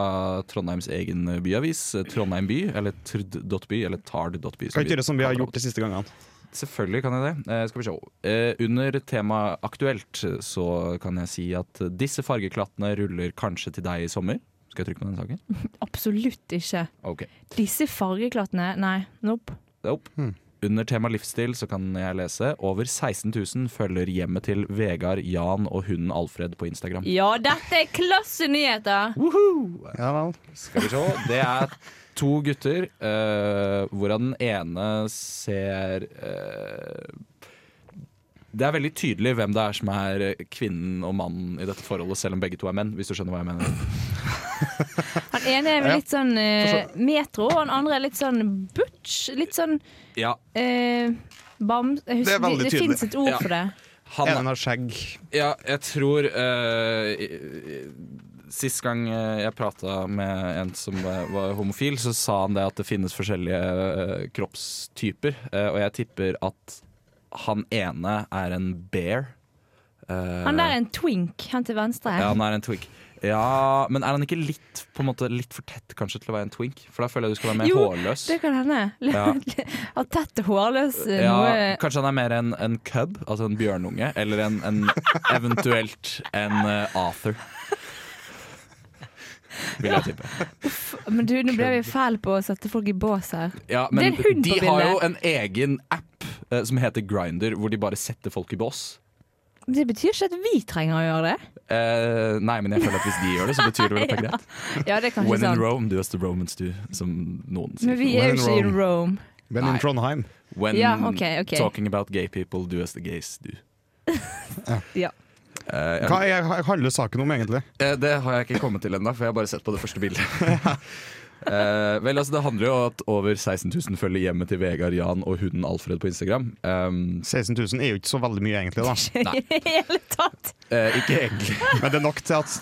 [SPEAKER 2] Trondheims egen byavis, eh, Trondheim by, eller trd.by, eller tard.by.
[SPEAKER 3] Kan ikke gjøre som vi har gjort de siste gangene.
[SPEAKER 2] Selvfølgelig kan jeg det. Eh, skal vi se. Eh, under temaet aktuelt eh, så kan jeg si at eh, disse fargeklattene ruller kanskje til deg i sommer. Skal jeg trykke på den saken?
[SPEAKER 4] Absolutt ikke.
[SPEAKER 2] Ok.
[SPEAKER 4] Disse fargeklattene, nei, nope.
[SPEAKER 2] Opp.
[SPEAKER 3] Hmm.
[SPEAKER 2] Under temaet livsstil så kan jeg lese over 16 000 følger hjemmet til Vegard, Jan og hunden Alfred på Instagram.
[SPEAKER 4] Ja, dette er klassenyheter!
[SPEAKER 3] Ja vel.
[SPEAKER 2] Skal vi se. Det er to gutter, eh, hvorav den ene ser eh, Det er veldig tydelig hvem det er som er kvinnen og mannen i dette forholdet, selv om begge to er menn, hvis du skjønner hva jeg mener.
[SPEAKER 4] Han ene er vel litt sånn eh, metro, og han andre er litt sånn butch. Litt sånn
[SPEAKER 2] Ja,
[SPEAKER 4] eh, bam...
[SPEAKER 3] Det
[SPEAKER 4] Jeg
[SPEAKER 3] er
[SPEAKER 4] husker,
[SPEAKER 3] veldig
[SPEAKER 4] det det
[SPEAKER 3] tydelig.
[SPEAKER 4] fins et ord
[SPEAKER 2] Ja.
[SPEAKER 4] for det.
[SPEAKER 2] han,
[SPEAKER 3] En har skjegg.
[SPEAKER 2] ja jeg tror eh, i- i- Sist gang eh, jeg prata med en som eh, var homofil, så sa han det at det finnes forskjellige eh, kroppstyper, eh, og jeg tipper at han ene er en bear. Eh,
[SPEAKER 4] Han der er en twink, han til venstre.
[SPEAKER 2] Ja, han er en twink. Ja, men er han ikke litt, på en måte, litt for tett kanskje til å være en twink? For da føler jeg du skal være mer
[SPEAKER 4] Jo,
[SPEAKER 2] hårløs.
[SPEAKER 4] Det kan hende.
[SPEAKER 2] Ja.
[SPEAKER 4] Har tett og hårløs eh,
[SPEAKER 2] Ja,
[SPEAKER 4] noe
[SPEAKER 2] kanskje han er mer en, en cub, altså en bjørnunge, eller en, en eventuelt en eh, Arthur. Vil jeg tippe.
[SPEAKER 4] Men du, nå ble vi fæle på å sette folk i bås her.
[SPEAKER 2] Ja,
[SPEAKER 4] Det er
[SPEAKER 2] men
[SPEAKER 4] en hund
[SPEAKER 2] de
[SPEAKER 4] på
[SPEAKER 2] har
[SPEAKER 4] bildet.
[SPEAKER 2] jo en egen app eh, som heter Grinder, hvor de bare setter folk i bås.
[SPEAKER 4] Det betyr ikke at vi trenger å gjøre det.
[SPEAKER 2] Eh, nei, men jeg føler at hvis de gjør det, så betyr det vel at det er greit.
[SPEAKER 4] Ja, det er kanskje
[SPEAKER 2] When in
[SPEAKER 4] sant.
[SPEAKER 2] Rome, do as the Romans do, som noen sier.
[SPEAKER 4] Men vi er
[SPEAKER 3] When
[SPEAKER 4] jo ikke
[SPEAKER 3] in
[SPEAKER 4] i Rome.
[SPEAKER 3] Men
[SPEAKER 2] Nei.
[SPEAKER 3] in Trondheim.
[SPEAKER 2] When
[SPEAKER 4] Ja, ok, ok.
[SPEAKER 2] talking about gay people, do as the gays do.
[SPEAKER 4] Ja.
[SPEAKER 2] Eh,
[SPEAKER 3] Hva er, handler saken om, egentlig?
[SPEAKER 2] eh, det har jeg ikke kommet til ennå, for jeg har bare sett på det første bildet. Eh, vel, altså Det handler jo om at over 16 000 følger hjemmet til Vegard Jan og hunden Alfred på Instagram. Um,
[SPEAKER 3] 16 000 er jo ikke så veldig mye, egentlig. da
[SPEAKER 4] I det hele tatt.
[SPEAKER 2] eh, ikke egentlig
[SPEAKER 3] Men det er nok til at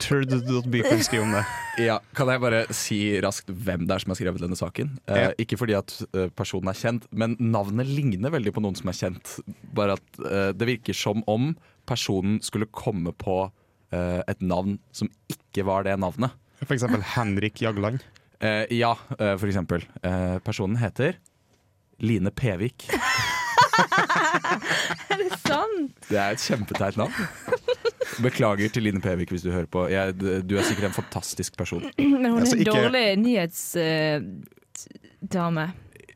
[SPEAKER 3] Turd.by kan skrive om det.
[SPEAKER 2] ja, Kan jeg bare si raskt hvem det er som har skrevet denne saken? Eh,
[SPEAKER 3] Ja.
[SPEAKER 2] Ikke fordi at eh, personen er kjent, men navnet ligner veldig på noen som er kjent. Bare at eh, det virker som om personen skulle komme på eh, et navn som ikke var det navnet.
[SPEAKER 3] For eksempel Henrik Jagland.
[SPEAKER 2] Eh, ja, eh, for eksempel. Eh, personen heter Line Pevik.
[SPEAKER 4] Er det sant?
[SPEAKER 2] Det er et kjempeteit navn. Beklager til Line Pevik hvis du hører på. Jeg, du er sikkert en fantastisk person.
[SPEAKER 4] Men hun er
[SPEAKER 3] Altså,
[SPEAKER 4] en
[SPEAKER 3] ikke-
[SPEAKER 4] dårlig eh, nyhetsdame.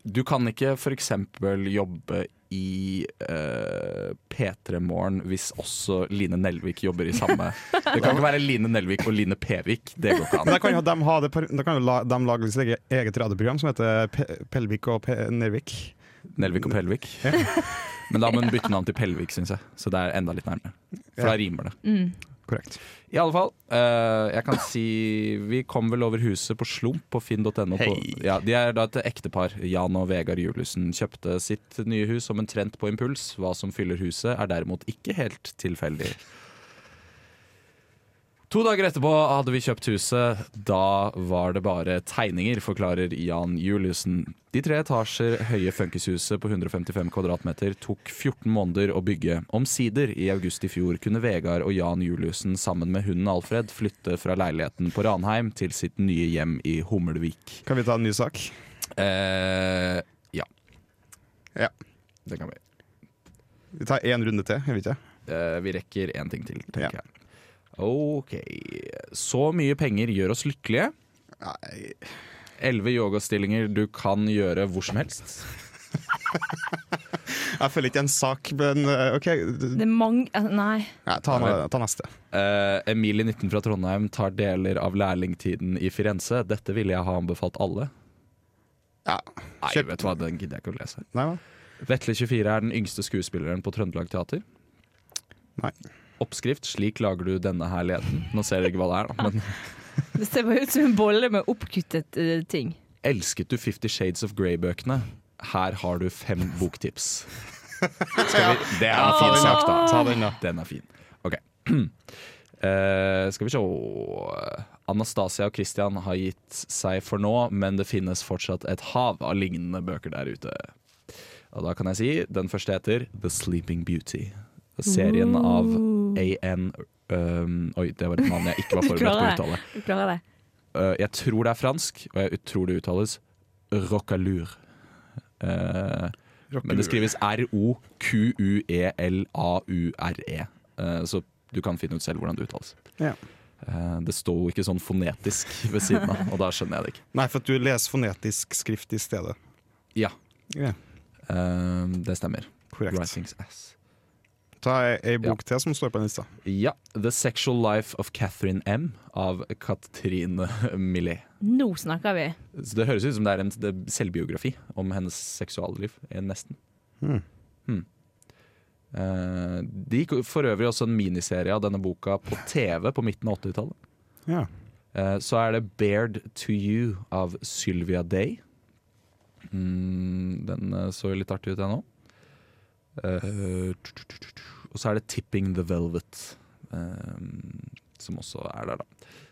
[SPEAKER 2] Du kan ikke f.eks. jobbe i eh, P3 Morgen hvis også Line Nelvik jobber i samme Det kan ikke være Line Nelvik og Line Pevik. Det går ikke
[SPEAKER 3] Men da
[SPEAKER 2] an.
[SPEAKER 3] kan jo de, ha det, par- da kan jo la, de lage sitt eget, eget radioprogram som heter Pe Pelvik og Pe Nervik.
[SPEAKER 2] Nelvik og Pelvik. Men da må hun bytte navn til Pelvik, syns jeg. Så det er enda litt nærmere. For da rimer det.
[SPEAKER 4] Mm.
[SPEAKER 3] Korrekt.
[SPEAKER 2] I alle fall, eh, jeg kan si Vi kom vel over huset på Slump på finn.no. på-
[SPEAKER 3] Hei.
[SPEAKER 2] Ja, de er da et ektepar. Jan og Vegard Juliussen kjøpte sitt nye hus som en trend på impuls. Hva som fyller huset, er derimot ikke helt tilfeldig. To dager etterpå hadde vi kjøpt huset. Da var det bare tegninger, forklarer Jan Juliussen. De tre etasjer høye funkishuset på 155 kvadratmeter tok 14 måneder å bygge. Omsider, i august i fjor, kunne Vegard og Jan Juliussen sammen med hunden Alfred flytte fra leiligheten på Ranheim til sitt nye hjem i Hummelvik.
[SPEAKER 3] Kan vi ta en ny sak?
[SPEAKER 2] Eh, ja,
[SPEAKER 3] Ja.
[SPEAKER 2] det kan vi.
[SPEAKER 3] Vi tar én runde til, jeg vet ikke.
[SPEAKER 2] Eh, vi rekker én ting til,
[SPEAKER 3] Ja.
[SPEAKER 2] tenker jeg. Ok. Så mye penger gjør oss lykkelige.
[SPEAKER 3] Nei.
[SPEAKER 2] Elleve yogastillinger du kan gjøre hvor som helst.
[SPEAKER 3] Jeg føler ikke en sak, men eh, OK. d-
[SPEAKER 4] Det er mange altså, Nei.
[SPEAKER 3] Nei, ta, na- ta neste.
[SPEAKER 2] Eh, Emilie 19 fra Trondheim tar deler av lærlingtiden i Firenze. Dette ville jeg ha anbefalt alle.
[SPEAKER 3] Ja.
[SPEAKER 2] Nei,
[SPEAKER 3] Kjøp-
[SPEAKER 2] vet du hva, den gidder jeg ikke å lese.
[SPEAKER 3] Nei hva?
[SPEAKER 2] Vetle 24 er den yngste skuespilleren på Trøndelag Teater.
[SPEAKER 3] Nei.
[SPEAKER 2] oppskrift. Slik lager du denne herligheten. Nå ser dere ikke hva det er, da, men
[SPEAKER 4] Det ser bare ut som en bolle med oppkuttet eh, ting.
[SPEAKER 2] Elsket du Fifty Shades of Grey-bøkene? Her har du fem boktips. Skal vi, det er en
[SPEAKER 4] Ja, ta
[SPEAKER 2] fin
[SPEAKER 4] den,
[SPEAKER 2] sak, da.
[SPEAKER 4] da. Ta
[SPEAKER 2] den, er fin. Ok. Eh, skal vi se Anastasia og Christian har gitt seg for nå, men det finnes fortsatt et hav av lignende bøker der ute. Og da kan jeg si den første heter The Sleeping Beauty. Serien av A.N. Um, oi, det var et navn jeg ikke var
[SPEAKER 4] Du
[SPEAKER 2] forberedt på å
[SPEAKER 4] klarer det.
[SPEAKER 2] uttale.
[SPEAKER 4] Du klarer det.
[SPEAKER 2] Eh, jeg tror det er fransk, og jeg tror det uttales rockalur. Eh, men det skrives E R-O-Q-U-E-L-A-U-R-E. Eh, så du kan finne ut selv hvordan det uttales.
[SPEAKER 3] Ja.
[SPEAKER 2] Eh, det sto ikke sånn fonetisk ved siden av, og da skjønner jeg det ikke.
[SPEAKER 3] Nei, for at du leser fonetisk skrift i stedet.
[SPEAKER 2] Ja,
[SPEAKER 3] Ja,
[SPEAKER 2] eh, det stemmer.
[SPEAKER 3] korrekt.
[SPEAKER 2] Writings ass.
[SPEAKER 3] Ta ei- ei bok til som står på den lista.
[SPEAKER 2] Ja. The Sexual Life of Catherine M. av Katrine Millie.
[SPEAKER 4] Nå snakker vi.
[SPEAKER 2] Så det høres ut som det er en det er selvbiografi om hennes seksualliv, eh, nesten.
[SPEAKER 3] Hmm.
[SPEAKER 2] Hmm. Eh, det gikk for øvrig også en miniserie av denne boka på TV på midten av 80-tallet.
[SPEAKER 3] Ja.
[SPEAKER 2] Eh, så er det 'Bared to You' av Sylvia Day. Mm, den eh, så litt artig ut, jeg nå. Eh, og så er det 'Tipping the Velvet', eh, som også er der, da.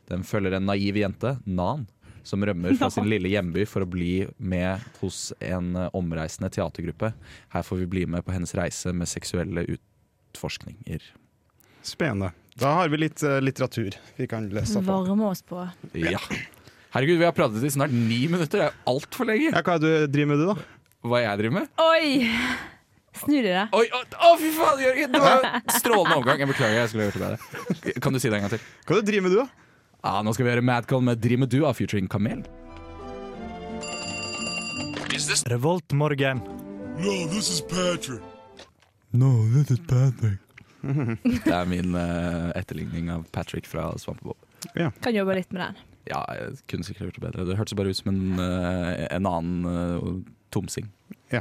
[SPEAKER 2] Den følger en naiv jente, Nan, som rømmer fra sin lille hjemby for å bli med hos en eh, omreisende teatergruppe. Her får vi bli med på hennes reise med seksuelle utforskninger.
[SPEAKER 3] Spennende. Da har vi litt eh, litteratur vi kan lese på.
[SPEAKER 4] Varme oss på.
[SPEAKER 2] Ja. Herregud, vi har pratet i snart ni minutter. Det er jo altfor lenge.
[SPEAKER 3] Ja, hva er det du driver med, du, da?
[SPEAKER 2] hva jeg driver med.
[SPEAKER 4] Oi! Snu deg, da.
[SPEAKER 2] Oi, å, å fy faen, Jørgen! Det var jo strålende overgang. Jeg beklager, jeg skulle gjort det bedre. Kan du si det en gang til?
[SPEAKER 3] Hva er det du driver med, du, da?
[SPEAKER 2] Ah, nå skal vi gjøre Madcon med Dream med du av featuring Kamel.
[SPEAKER 1] Revoltmorgen.
[SPEAKER 2] Det er min eh, etterligning av Patrick fra Svampebob.
[SPEAKER 4] Kan jobbe litt med den.
[SPEAKER 2] Ja, jeg kunne sikkert gjort det bedre. Det hørtes bare ut som en, eh, en annen eh, tomsing.
[SPEAKER 4] ja.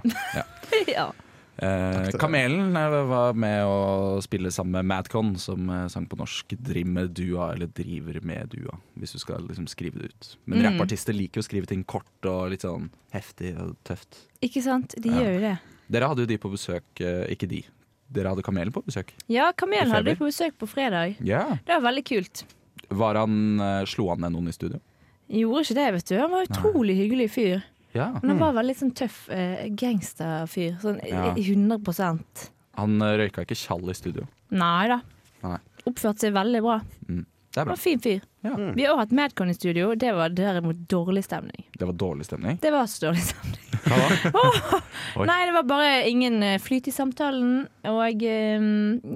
[SPEAKER 2] Eh, Kamelen eh, var med å spille sammen med Madcon, som eh, sang på norsk 'Driv med dua', eller 'Driver med dua', hvis du skal liksom skrive det ut. Men
[SPEAKER 4] Mm.
[SPEAKER 2] rappartister liker jo å skrive ting kort og litt sånn heftig og tøft.
[SPEAKER 4] Ikke sant? De
[SPEAKER 2] Ja.
[SPEAKER 4] gjør jo det.
[SPEAKER 2] Dere hadde jo de på besøk, eh, ikke de. Dere hadde Kamelen på besøk.
[SPEAKER 4] Ja,
[SPEAKER 2] I
[SPEAKER 4] Kamelen hadde
[SPEAKER 2] feber.
[SPEAKER 4] vi på besøk på fredag.
[SPEAKER 2] Ja.
[SPEAKER 4] Det var veldig kult.
[SPEAKER 2] Var han, eh, slo han ned noen i studio?
[SPEAKER 4] Gjorde ikke det, vet du. Han var utrolig hyggelig fyr.
[SPEAKER 2] Ja.
[SPEAKER 4] Men han var veldig sånn tøff eh, gangsterfyr. Sånn
[SPEAKER 2] Mm. Ja.
[SPEAKER 4] 100
[SPEAKER 2] Han eh, røyka ikke tjall i studio.
[SPEAKER 4] Nei da.
[SPEAKER 2] Nei.
[SPEAKER 4] Oppførte seg veldig bra.
[SPEAKER 2] Det er bra.
[SPEAKER 4] Han var en fin fyr.
[SPEAKER 2] Ja.
[SPEAKER 4] Vi har også hatt Madcon i studio. Det var derimot dårlig stemning.
[SPEAKER 2] Det var dårlig stemning.
[SPEAKER 4] Det var så dårlig stemning.
[SPEAKER 2] Hva da? Oi.
[SPEAKER 4] Nei, det var bare ingen eh, flyt i samtalen. Og eh,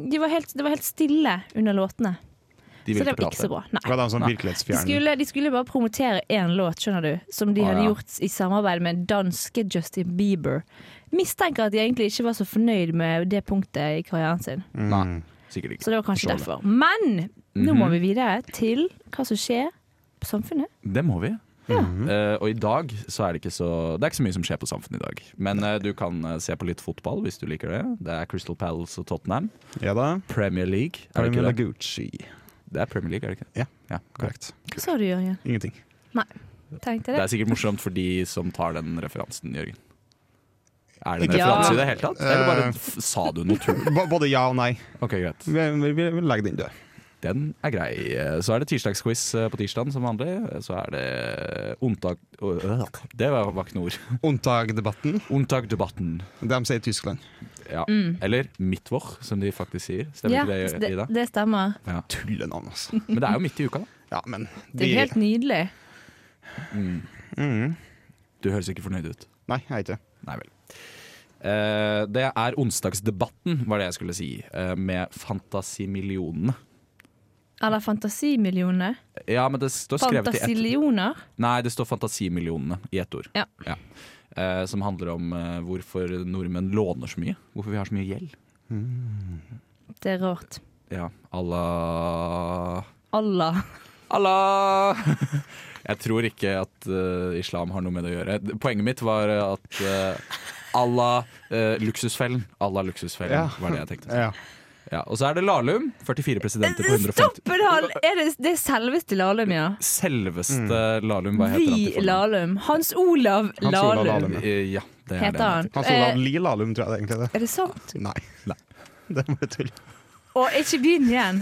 [SPEAKER 4] de var helt, det var helt stille under låtene.
[SPEAKER 2] De
[SPEAKER 4] Så
[SPEAKER 2] ville
[SPEAKER 4] det
[SPEAKER 2] ikke
[SPEAKER 4] var ikke så
[SPEAKER 2] prate.
[SPEAKER 4] bra. Nei.
[SPEAKER 3] Hva er det sånn
[SPEAKER 4] De
[SPEAKER 3] virkelighetsfjern?
[SPEAKER 4] skulle, de skulle bare promotere én låt, skjønner du, som de
[SPEAKER 2] Å,
[SPEAKER 4] hadde
[SPEAKER 2] Ah, ja.
[SPEAKER 4] gjort i samarbeid med danske Justin Bieber. Mistenker at de egentlig ikke var så fornøyd med det punktet i karrieren sin.
[SPEAKER 3] Hmm.
[SPEAKER 2] Nei, sikkert ikke.
[SPEAKER 4] Så det var kanskje
[SPEAKER 2] Forstår det. Mhm.
[SPEAKER 4] derfor. Men nå må vi videre til hva som skjer på samfunnet.
[SPEAKER 2] Det må vi.
[SPEAKER 3] Mm.
[SPEAKER 2] Eh, og i dag så er det ikke så Det er ikke så mye som skjer på samfunnet i dag. Men eh, du kan eh, se på litt fotball hvis du liker det. Det er Crystal Palace og Tottenham.
[SPEAKER 3] Ja da.
[SPEAKER 2] Premier League. Er det,
[SPEAKER 3] Premier
[SPEAKER 2] ikke det?
[SPEAKER 3] Lagucci.
[SPEAKER 2] det er Premier League, er det ikke?
[SPEAKER 3] Ja.
[SPEAKER 2] korrekt.
[SPEAKER 3] Korrekt.
[SPEAKER 4] Hva sa du, Jørgen?
[SPEAKER 3] Ingenting.
[SPEAKER 4] Tenkte
[SPEAKER 2] Det
[SPEAKER 4] jeg
[SPEAKER 2] er
[SPEAKER 4] det?
[SPEAKER 2] sikkert morsomt for de som tar den referansen, Jørgen. Er det en
[SPEAKER 4] Ikke-
[SPEAKER 2] referanse
[SPEAKER 4] Ja.
[SPEAKER 2] i det hele tatt? Eller bare
[SPEAKER 3] Eh.
[SPEAKER 2] f sa du noe tull?
[SPEAKER 3] B både ja og nei.
[SPEAKER 2] Ok, greit.
[SPEAKER 3] Vi, vi, vi, vi legger den død.
[SPEAKER 2] Den er grei. Eh, Så er det tirsdagsquiz eh, på tirsdagen som vanlig. Eh, Så er det Unntak... Øh, Det var var ikke noe ord.
[SPEAKER 3] Ontag-debatten.
[SPEAKER 2] Unntakdebatten.
[SPEAKER 3] De sier Tyskland.
[SPEAKER 2] Ja. Eller Mittwoch, som de faktisk sier. Stemmer
[SPEAKER 4] Mm. Ja,
[SPEAKER 2] ikke det,
[SPEAKER 4] det,
[SPEAKER 2] Ida?
[SPEAKER 4] det stemmer.
[SPEAKER 2] Ja.
[SPEAKER 3] Tullenavn, altså.
[SPEAKER 2] Men det er jo midt i uka, da.
[SPEAKER 3] Ja, men
[SPEAKER 4] Det er
[SPEAKER 3] de
[SPEAKER 4] jo helt nydelig.
[SPEAKER 3] Mhm.
[SPEAKER 2] Mm. Du høres ikke fornøyd ut.
[SPEAKER 3] Nei, jeg er ikke det.
[SPEAKER 2] Nei vel. Eh, det er onsdagsdebatten, var det jeg skulle si, eh, med Fantasimillionene.
[SPEAKER 4] Eller Fantasimillionene.
[SPEAKER 2] Ja, men det står skrevet i ett
[SPEAKER 4] Fantasillioner.
[SPEAKER 2] Nei, det står Fantasimillionene i ett ord.
[SPEAKER 4] Ja.
[SPEAKER 2] Eh, som handler om eh, hvorfor nordmenn låner så mye. Hvorfor vi har så mye gjeld.
[SPEAKER 4] Det er rart.
[SPEAKER 2] Ja, à la
[SPEAKER 4] Allah.
[SPEAKER 2] Allah! Jeg tror ikke at eh, islam har noe med det å gjøre. Poenget mitt var at eh, Allah eh, luksusfellen. Allah luksusfellen
[SPEAKER 3] Ja.
[SPEAKER 2] var det jeg tenkte.
[SPEAKER 3] Ja.
[SPEAKER 2] Ja, og så er det Lahlum. 44 presidenter på 150.
[SPEAKER 4] Stoppedal! Er det, det er selveste Lahlum, ja.
[SPEAKER 2] Selveste Lahlum, hva heter han?
[SPEAKER 4] Vi
[SPEAKER 2] til fornavn?
[SPEAKER 4] Lahlum. Hans Olav
[SPEAKER 3] Hans Olav
[SPEAKER 4] Lahlum
[SPEAKER 3] Lahlum.
[SPEAKER 2] Eh, Ja, det er
[SPEAKER 4] heter
[SPEAKER 2] det.
[SPEAKER 4] han.
[SPEAKER 3] Han
[SPEAKER 4] Eh,
[SPEAKER 3] Olav Lilalum, tror jeg det egentlig er.
[SPEAKER 4] Er det sant?
[SPEAKER 3] Nei.
[SPEAKER 2] Nei.
[SPEAKER 3] Det var bare tull.
[SPEAKER 4] Og ikke begynn igjen!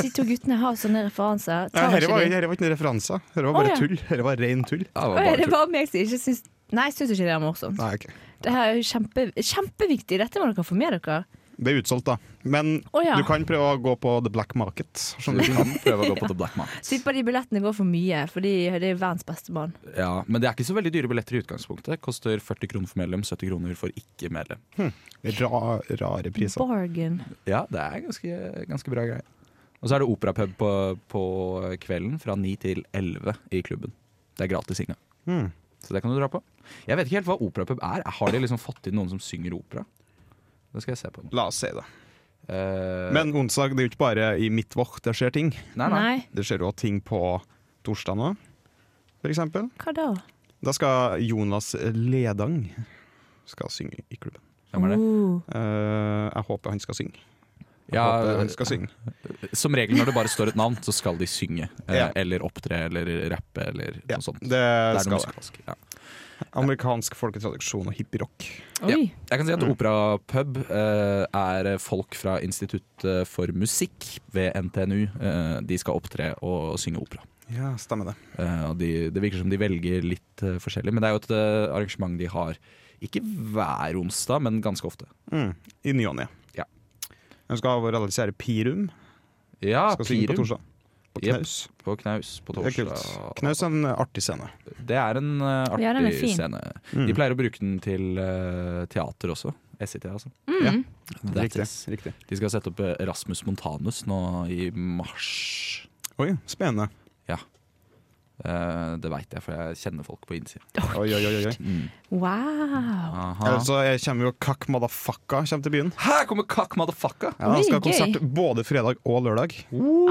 [SPEAKER 4] De to guttene har sånne referanser.
[SPEAKER 3] Ja,
[SPEAKER 4] Tar
[SPEAKER 3] Dette var,
[SPEAKER 4] ikke de?
[SPEAKER 3] dette var ikke noen referanser. Dette var
[SPEAKER 4] Å,
[SPEAKER 3] bare
[SPEAKER 4] ja.
[SPEAKER 3] tull. Dette var ren
[SPEAKER 2] Ja,
[SPEAKER 3] tull.
[SPEAKER 2] det var
[SPEAKER 4] Å,
[SPEAKER 2] bare
[SPEAKER 4] er det
[SPEAKER 2] tull.
[SPEAKER 4] bare meg som ikke syns Nei, jeg syns ikke det er morsomt.
[SPEAKER 3] Nei, ok.
[SPEAKER 4] Det her er jo kjempe, kjempeviktig. Dette må dere få med dere.
[SPEAKER 3] Det er utsolgt, da. Men
[SPEAKER 4] Å, ja.
[SPEAKER 3] du kan prøve å gå på the black market.
[SPEAKER 2] Du
[SPEAKER 3] Skjønner du?
[SPEAKER 2] Sånn kan prøve å gå på The Black Market.
[SPEAKER 4] Tipper de billettene går for mye, fordi det er verdens beste mann.
[SPEAKER 2] Ja, men det er ikke så veldig dyre billetter i utgangspunktet. Koster 40 kroner for medlem, 70 kroner for ikke-medlem.
[SPEAKER 3] Ra, rare priser.
[SPEAKER 4] Bargain.
[SPEAKER 2] Ja, det er ganske, ganske bra greie. Og så er det operapub på, på kvelden fra 9 til 11 i klubben. Det er gratis inngang.
[SPEAKER 3] Hmm.
[SPEAKER 2] Så det kan du dra på. Jeg vet ikke helt hva operapub er. Har de liksom fått inn noen som synger opera? Det skal jeg se på. nå.
[SPEAKER 3] La oss si det.
[SPEAKER 2] Eh,
[SPEAKER 3] Men onsdag det er jo ikke bare i mitt vårt det skjer ting.
[SPEAKER 2] nei, nei.
[SPEAKER 4] Nei,
[SPEAKER 3] Det skjer jo ting på torsdag nå, for eksempel.
[SPEAKER 4] hva da?
[SPEAKER 3] Da skal Jonas Ledang skal synge i klubben.
[SPEAKER 2] Hvem er det?
[SPEAKER 4] Oh.
[SPEAKER 3] Eh, jeg håper han skal synge. Jeg
[SPEAKER 2] Ja,
[SPEAKER 3] håper han skal synge.
[SPEAKER 2] Som regel når det bare står et navn, så skal de synge. eh,
[SPEAKER 3] Ja.
[SPEAKER 2] Eller opptre, eller rappe, eller
[SPEAKER 3] Ja,
[SPEAKER 2] noe sånt.
[SPEAKER 3] sånn
[SPEAKER 2] Det
[SPEAKER 3] det
[SPEAKER 2] er noe
[SPEAKER 3] skal jeg.
[SPEAKER 2] musikalsk. Ja.
[SPEAKER 3] Amerikansk folketraduksjon og hippierock.
[SPEAKER 4] Oi.
[SPEAKER 2] Jeg kan si at
[SPEAKER 3] Mm.
[SPEAKER 2] operapub eh, er folk fra Instituttet for musikk ved NTNU. Eh, de skal opptre og synge opera.
[SPEAKER 3] Ja, stemmer det.
[SPEAKER 2] Eh, og de, det virker som de velger litt eh, forskjellig, men det er jo et eh, arrangement de har ikke hver onsdag, men ganske ofte.
[SPEAKER 3] Mm. I ny og ne.
[SPEAKER 2] Ja.
[SPEAKER 3] Hun skal ha vår alle kjære Pirum.
[SPEAKER 2] Ja,
[SPEAKER 3] Skal synge på
[SPEAKER 2] Ah, Pirum.
[SPEAKER 3] torsdag. På
[SPEAKER 2] Jep.
[SPEAKER 3] Knaus.
[SPEAKER 2] På knaus på
[SPEAKER 3] Det er
[SPEAKER 2] torsdag.
[SPEAKER 3] kult. Knaus er en artig scene.
[SPEAKER 2] Det er en eh, artig
[SPEAKER 4] Ja, den er fin.
[SPEAKER 2] scene.
[SPEAKER 3] Mm.
[SPEAKER 2] De pleier å bruke den til eh, teater også. SIT, altså.
[SPEAKER 3] Ja.
[SPEAKER 4] Mm.
[SPEAKER 2] That
[SPEAKER 3] Riktig.
[SPEAKER 2] is.
[SPEAKER 3] Riktig.
[SPEAKER 2] De skal sette opp eh, Rasmus Montanus nå i mars.
[SPEAKER 3] Oi, spennende.
[SPEAKER 2] Eh, det veit jeg, for jeg kjenner folk på innsida.
[SPEAKER 3] Oi, oi, oi, oi.
[SPEAKER 4] Wow.
[SPEAKER 2] Aha.
[SPEAKER 3] Eller så jeg kommer jo Kakk Madafakka kommer til byen.
[SPEAKER 2] Her kommer Kakk Motherfucka!
[SPEAKER 3] Ja, Han skal ha
[SPEAKER 4] Oi, gøy.
[SPEAKER 3] konsert både fredag og lørdag.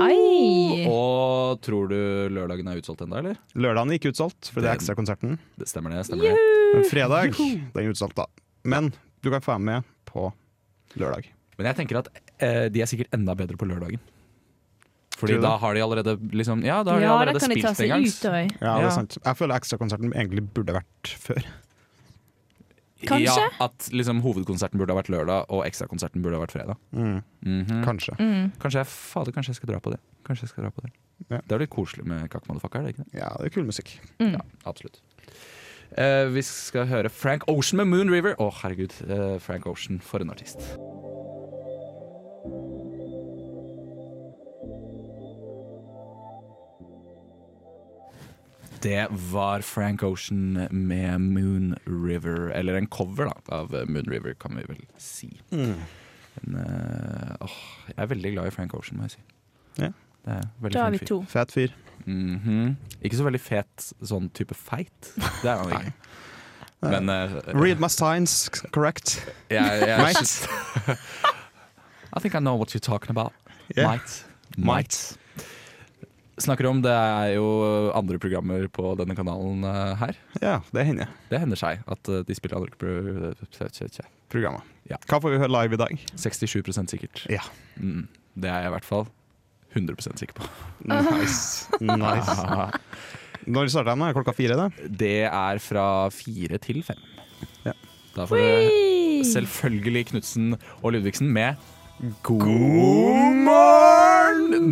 [SPEAKER 4] Ai.
[SPEAKER 2] Og tror du lørdagen er utsolgt ennå, eller?
[SPEAKER 3] Lørdagen er ikke utsolgt, for det er
[SPEAKER 2] Den-
[SPEAKER 3] ekstrakonserten.
[SPEAKER 2] Det stemmer det. stemmer det
[SPEAKER 3] Men fredag den er utsolgt, da. Men du kan få være med på lørdag.
[SPEAKER 2] Men jeg tenker at eh, de er sikkert enda bedre på lørdagen. Fordi
[SPEAKER 3] Tror du
[SPEAKER 2] da
[SPEAKER 3] det?
[SPEAKER 2] har de allerede liksom Ja, da har de
[SPEAKER 4] Ja, da
[SPEAKER 2] allerede
[SPEAKER 4] kan de ta
[SPEAKER 2] spilt en
[SPEAKER 4] seg
[SPEAKER 2] gang.
[SPEAKER 4] ut òg.
[SPEAKER 3] Ja, det
[SPEAKER 2] Ja.
[SPEAKER 3] er sant. Jeg føler ekstrakonserten egentlig burde vært før.
[SPEAKER 4] Kanskje?
[SPEAKER 2] Ja, at liksom hovedkonserten burde ha vært lørdag, og ekstrakonserten burde ha vært fredag.
[SPEAKER 3] Mm.
[SPEAKER 2] Mhm.
[SPEAKER 3] Kanskje.
[SPEAKER 4] Mm,
[SPEAKER 2] Kanskje jeg fader, kanskje jeg skal dra på det. Kanskje jeg skal dra på Det
[SPEAKER 3] Ja.
[SPEAKER 2] Det er jo litt koselig med Kakk Motherfucka, er det ikke det?
[SPEAKER 3] Ja, det er kul musikk.
[SPEAKER 2] Ja, absolutt. Eh, vi skal høre Frank Ocean med Moon River. Å, herregud. eh, Frank Ocean, for en artist. Det var Frank Ocean med Moon River, eller en cover da, av Moon River, kan vi vel si.
[SPEAKER 3] Mm.
[SPEAKER 2] Men, eh, åh, jeg er veldig glad i Frank Ocean, må jeg si.
[SPEAKER 3] Ja.
[SPEAKER 2] Det er en veldig
[SPEAKER 4] Da
[SPEAKER 2] fin
[SPEAKER 4] er vi
[SPEAKER 2] fyr.
[SPEAKER 4] to.
[SPEAKER 3] Fet fyr.
[SPEAKER 2] Mhm. Ikke så veldig fet sånn type feit. Det er han ikke. Men eh,
[SPEAKER 3] Read my signs, correct?
[SPEAKER 2] jeg, jeg,
[SPEAKER 3] Might.
[SPEAKER 2] I think I know what you're talking about.
[SPEAKER 3] Yeah.
[SPEAKER 2] Might. Might. Snakker om, det er jo andre programmer på denne kanalen eh, her.
[SPEAKER 3] Ja, det hender.
[SPEAKER 2] Det hender seg at eh, de spiller andre pro-
[SPEAKER 3] Programmet.
[SPEAKER 2] Ja.
[SPEAKER 3] Hva får vi høre live i dag?
[SPEAKER 2] 67 sikkert.
[SPEAKER 3] Ja.
[SPEAKER 2] Mm. Det er jeg i hvert fall 100 sikker på.
[SPEAKER 3] Nice. nice. Når starter den? Er det Klokka fire? da?
[SPEAKER 2] Det er fra fire til fem.
[SPEAKER 3] Ja.
[SPEAKER 2] Da får dere selvfølgelig Knutsen og Ludvigsen med God morgen,